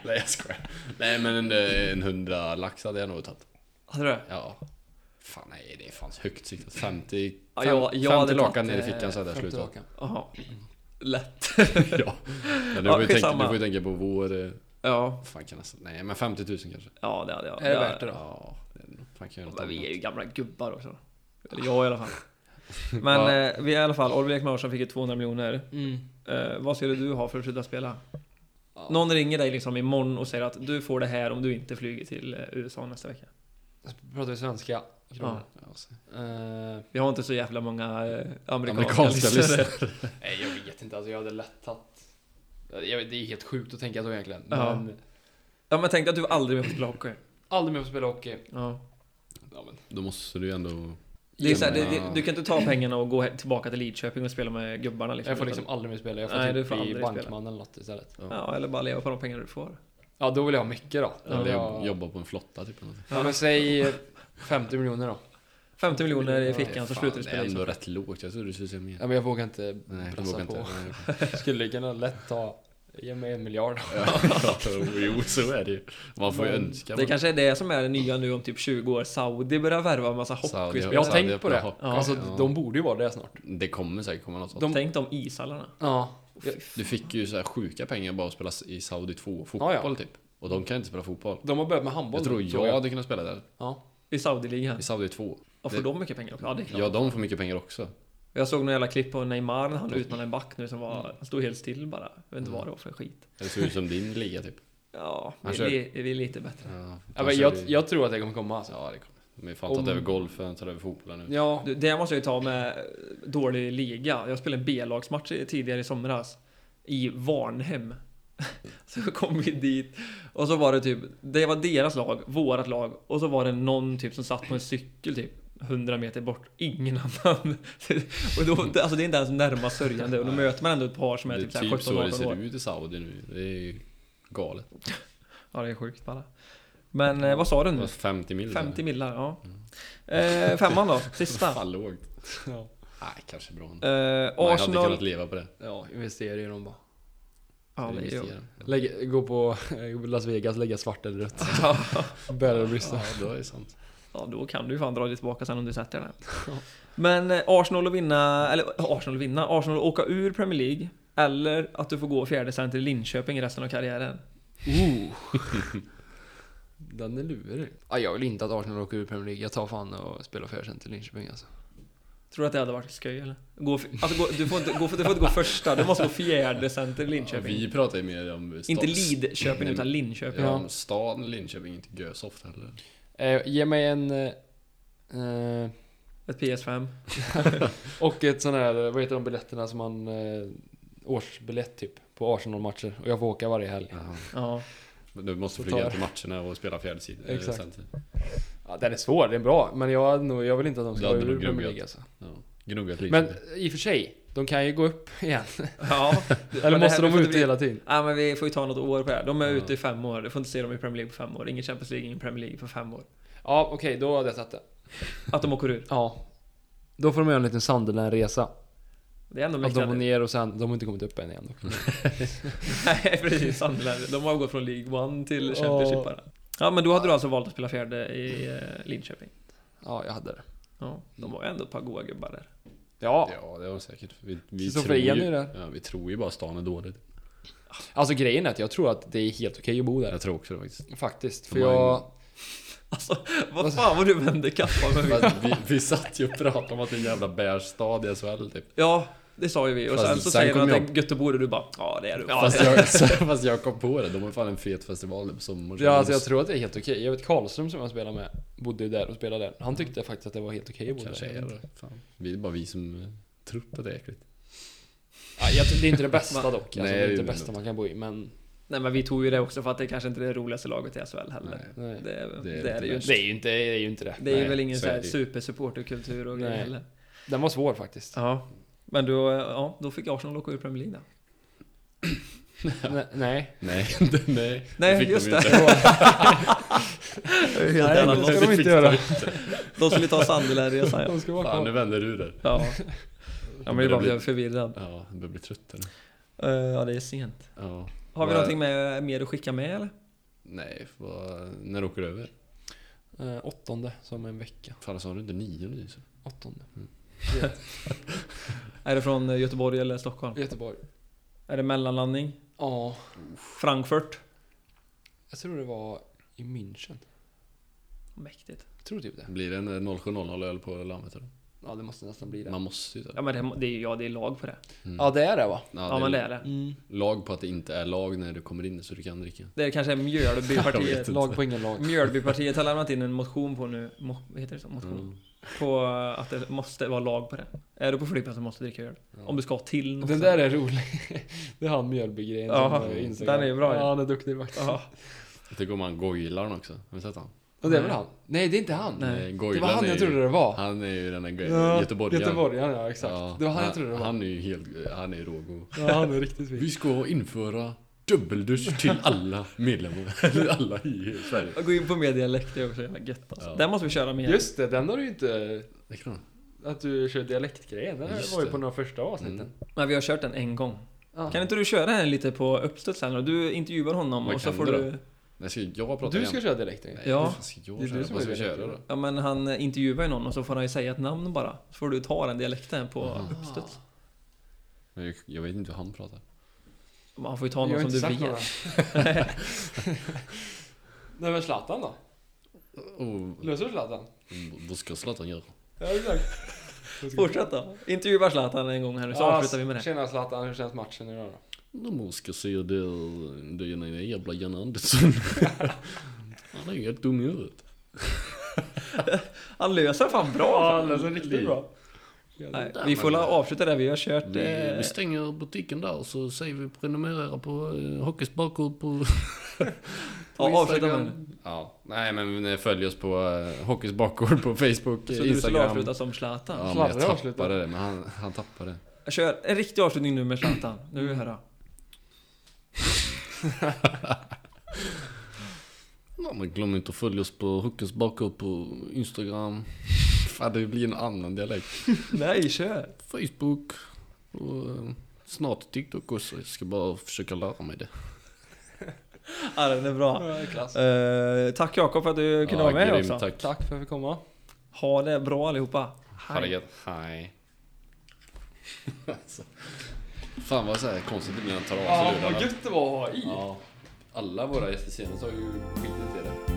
jag skojar. Nej, men en, eh, en hundra lax hade jag nog tagit. Hade du det? Ja. Fan, nej, det är fan högt Alltså, siktat. 50, Ja, jag- jag hade 50 lakan tagit, eh, ner i fickan så hade jag Femte slutat. raken. Jaha. Lätt. ja. Men du, Ja, får ju tänka, skitsamma. du får ju tänka på vår... eh, Ja, Fan kan nästan... Nej, men 50 000 kanske. ja det hade jag. Är det värt det då? Ja, det är nog- fan kan jag Men vi är ju annat. gamla gubbar också. Eller jag i alla fall. Men eh, vi är i alla fall, Oliver Ekman Larsson fick ju 200 miljoner. Mm. Eh, vad skulle du ha för att sluta spela? Ja. Någon ringer dig liksom imorgon och säger att du får det här om du inte flyger till eh, USA nästa vecka. Pratar vi svenska kronor? Ja, så- Eh, Vi har inte så jävla många eh, amerikanska, liksom. Amerikanska lyssnare. lyssnare. nej, jag vet inte. Alltså, jag hade lätt tagit... Jag vet, det är helt sjukt att tänka så egentligen. Ja. Men Ja men tänk dig att du aldrig mer får spela hockey. aldrig mer få spela hockey. Ja. Ja, men. Då måste du ju ändå... Det är så här, det, Ja. det, du kan inte ta pengarna och gå he- tillbaka till Lidköping och spela med gubbarna liksom. Jag får Utan- liksom aldrig mer spela. Jag får Nej, du typ får bli aldrig bankman spela. eller något istället. Ja, eller bara leva på de pengar du får. Ja, då vill jag ha mycket då. Då vill Eller jag- jobb- jobba på en flotta typ. eller något. Ja, men säg eh, 50 miljoner då. 50 miljoner i Det är fickan så fan, slutar du Det spela är ändå ishockey. rätt lågt. Jag trodde du skulle säga mer. Ja, men jag vågar inte Nej, jag brassa vågar inte. på. Skulle kunna lätt ta... Ge mig en miljard. Ja, jo, så är det ju. Man får ju önska. Det kanske är det som är det nya nu om typ 20 år. Saudi börjar värva en massa hockeyspelare. Jag har Saudi tänkt på öppnar det. hockey. Alltså, Ja. de borde ju vara det snart. Det kommer säkert komma något sånt. De- Tänk de ishallarna. Ja. Du fick ju så här sjuka pengar bara att spela i Saudi 2 fotboll Ja, ja. typ. Och de kan inte spela fotboll. De har börjat med handboll. Jag tror nu, jag hade kunnat spela där. Ja. I Saudi-ligan. I Saudi 2. Och får de mycket pengar också? Ja, det är klart. Ja, de får mycket pengar också. Jag såg några jävla klipp på Neymar när han utmanade en back nu som Mm. var... Han stod helt still bara. Jag vet inte vad det var för skit. Det ser ut som din liga typ. Ja, Mm. Han vi, vi, vi är lite bättre. Ja, Ja, men jag, jag tror att Alltså, det kommer komma alltså. ja det kommer. De har fan tagit Om- över golfen, tagit över fotbollen nu. Ja. Du, det måste jag ju ta med dålig liga. Jag spelade en B-lagsmatch i- tidigare i somras. I Varnhem. Så kom vi dit och så var det typ, det var deras lag, vårat lag och så var det någon typ som satt på en cykel typ 100 meter bort, ingen annan. Och då, alltså det är inte ens närmast sörjande och då möter man ändå ett par som det är är typ, typ, så här så 17-18 det ser år. ut i Saudi nu. Det är ju galet. Ja, det är sjukt bara. Men eh, vad sa du Det var nu? 50 mil. 50 millar, ja. Eh, femman då, sista. Mm. Fan lågt. Ja. Nej, kanske bra. ändå. Eh, Man hade kunnat Arsenal... leva på det. ja investera i dem bara. Ja, det är ju- Investera. Lägga, gå på gå på Las Vegas, lägga svart eller rött. Ja. Bära ryssar. Ja, då är det sant. Ja, då kan du ju fan dra dig tillbaka sen om du sätter den. Men eh, Arsenal att vinna, eller eh, Arsenal att vinna, Arsenal att åka ur Premier League. Eller att du får gå fjärde sen till Linköping resten av karriären. Den är lurig. Ja, jag vill inte att Arsenal åker ur Premier League. Jag tar fan och spelar för sen till Linköping alltså. Tror du att det hade varit skoj eller? Gå, för- alltså, gå, du, får inte, gå, för- du får inte gå första, du måste gå fjärde sen till Linköping. Vi pratar ju mer om stan. inte Lidköping utan Linköping. Ja, om stan Linköping, inte Gösoft heller. Eh, ge mig en... eh, Eh, Ett PS5. och ett sån här, vad heter de biljetterna som man... Eh, årsbiljett typ. På Arsenal-matcher. Och jag får åka varje helg. Ja. Men Du måste Så flyga tar- till matcherna och spela fjärde sidan. Exakt. Exakt. Ja, den är svår, den är bra. Men jag, hade nog- jag vill inte att de ska Du hade gå ur nog Premier gnuggat. League alltså. Ja. Gnuggat lite. Men i och för sig, de kan ju gå upp igen. ja. Men Eller det här- vi måste de vara får ute inte bli- hela tiden? Nej men vi får ju ta något år på det här. De är ute i fem år, du får inte se dem i Premier League på fem år. Ingen Champions League, ingen Premier League på fem år. Ja, okej, då hade jag tagit det. Att de åker ur. Ja. Då får de göra en liten Sunderland-resa. Det är ändå Att mäktigt. de går ner och sen, de har inte kommit upp än igen dock. Nej precis, Sunderland. De har gått från League One till Championship Ja. bara. Ja men då hade du alltså valt att spela fjärde i eh, Linköping. Ja, jag hade det. Ja, de har ju ändå ett par goa gubbar där. Ja, Ja, det har de säkert. Vi, vi, Kristoffer tror ju, Ian är där. ja, vi tror ju bara stan är dålig. alltså grejen är att jag tror att det är helt okej att bo där. Jag tror också det faktiskt. Faktiskt, för För man- jag... Alltså, vad fan vad du vänder kappan med. Fast vi, vi satt ju och pratade om att det är en jävla beige stad i SHL typ. Ja, det sa ju vi. Och Fast sen så sen säger kom han att jag- det är Göteborg och du bara ja det är du. Fast jag, fast jag kom på det, de har fan en fet festival nu på sommaren. Ja, alltså jag tror att det är helt okej. Jag vet Karlström som jag spelar med, bodde ju där och spelade där. Han tyckte faktiskt att det var helt okej att bo Kanske där. är det. Fan. Vi är bara vi som eh, tror på det är äckligt. Ja, jag tror, det är inte det bästa dock. Alltså, Nej, det är inte det det är bästa inte. man kan bo i, men... Nej men vi tog ju det också för att det kanske inte är det roligaste laget i SHL heller. Nej. Det, är- Det är det är det ju inte. Det är ju inte det. Är ju inte det. Det är ju Nej, väl ingen så så är här det ju. supersupporterkultur och grejer Nej. heller. Den var svår faktiskt. Ja. Men då, eh, ja, då fick Arsenal åka ur Premier League då. Ne- Nej. Nej, det, nej. Nej, fick de just ju det. inte. Nej, annan det sak. ska de inte göra. De skulle ta Sunderland-resan ja. De ska vara Fan, nu kvar. vänder du det. Ja. ja men det är bara för att jag är förvirrad. Ja, du börjar bli trött eller? Eh, ja det är sent. Ja. Har vi Vad- någonting med, mer att skicka med eller? Nej, vad, när åker du över? Eh, åttonde, som en vecka. Fan, sa du inte nio nu? så? Åttonde. Är det från eh, Göteborg eller Stockholm? Göteborg. Är det mellanlandning? Ja, Frankfurt? jag tror det var i München. Mäktigt. Jag tror typ det. Blir det en eh, 07.00 öl på Lammet? eller? Ja, det måste nästan bli det. Man måste ju ta Ja det. men det, det, är- ja, det är lag på det. Ja, det är det va? Mm. Ja, men det är det. Lag på att det inte är lag när du kommer in så du kan dricka. Det är kanske Jag vet Mjölbypartiet. inte. Lag på ingen lag. Mjölbypartiet har lämnat in en motion på nu, mo, vad heter det så? Motion? Mm. På eh, att det måste vara lag på det. Är du på flygplatsen måste du dricka öl. Om du ska till något Den där är rolig. Det är han Mjölby-grejen som Ja, har den är ju bra ju. Ja, han är duktig faktiskt. Ja. Jag tycker om han Goilaren också. Har ni sett han? Och det är väl han? Nej, det är inte han. Nej. Eh, Det Goilaren var han är jag ju- trodde det var. Han är ju den där Ja, ja, göteborgaren. Göteborgaren, ja exakt. Ja, det var han han jag trodde det var. Han är ju helt... Han är rågo. Ja, han är riktigt fin. Vi ska införa dubbeldusch till alla medlemmar. Eller alla i Sverige. Gå in på med dialekt, det är också jävla gött alltså. Ja. Den måste vi köra mer. Just det, den har du ju inte... Det kan man. Att du kör dialektgrejen. Den Just var ju det. på några första avsnitten. Mm. Men vi har kört den en gång. Ja. Kan inte du köra den lite på uppstuds här nu? Du intervjuar honom Vad och så kan får du då? du... Nej, ska jag prata Du igen? ska köra dialekten. Nej, Ja. ja. ska jag Det är du köra? som Vad är ska vi dialekten. köra då? Ja men han eh, intervjuar ju någon och så får han ju säga ett namn bara. Så får du ta den dialekten på uppstuds. Men jag- Jag vet inte hur han pratar. Man får ju Jag ta har någon som inte du sagt vet. några. Nej men Zlatan då? Oh, Löser du Zlatan? vad ska Zlatan göra? Ja exakt. Fortsätt då. Intervjua Zlatan en gång här nu så avslutar vi med det. Tjena Zlatan, hur känns matchen idag då? De ska se det, det är den jävla Jan Andersson. Han är ju helt dum i huvudet. Han löser fan bra! den är riktigt bra. Nej, vi får la- avsluta där, vi har kört... Vi, Eh, vi stänger butiken där så säger vi prenumerera på eh, Hockeys bakgrund på... ja, avsluta med den. Ja, nej men följ oss på eh, Hockeys bakgård på Facebook, Så eh, du skulle Instagram. avsluta som Zlatan. Ja, men Sladdra jag avslutar. tappade det, men han, han tappade det. Kör en riktig avslutning nu med Zlatan. Nu vill vi höra. Ja, men glöm inte att följa oss på Hockeys bakgrund på Instagram. Fan, det blir en annan dialekt. Nej, kör! Facebook och eh, snart TikTok också. Jag ska bara försöka lära mig det. Ja, den är bra. Klass. Eh, tack Jakob för att du kunde Ja, vara med grymt, också. Tack. Tack för att vi fick komma. Ha det bra allihopa. Ha det gött. Hej. Alltså. Fan vad så här konstigt det blir när han tar av sig lurarna. det var att ha i. Ja. alla våra gäster senast har ju skitit i det.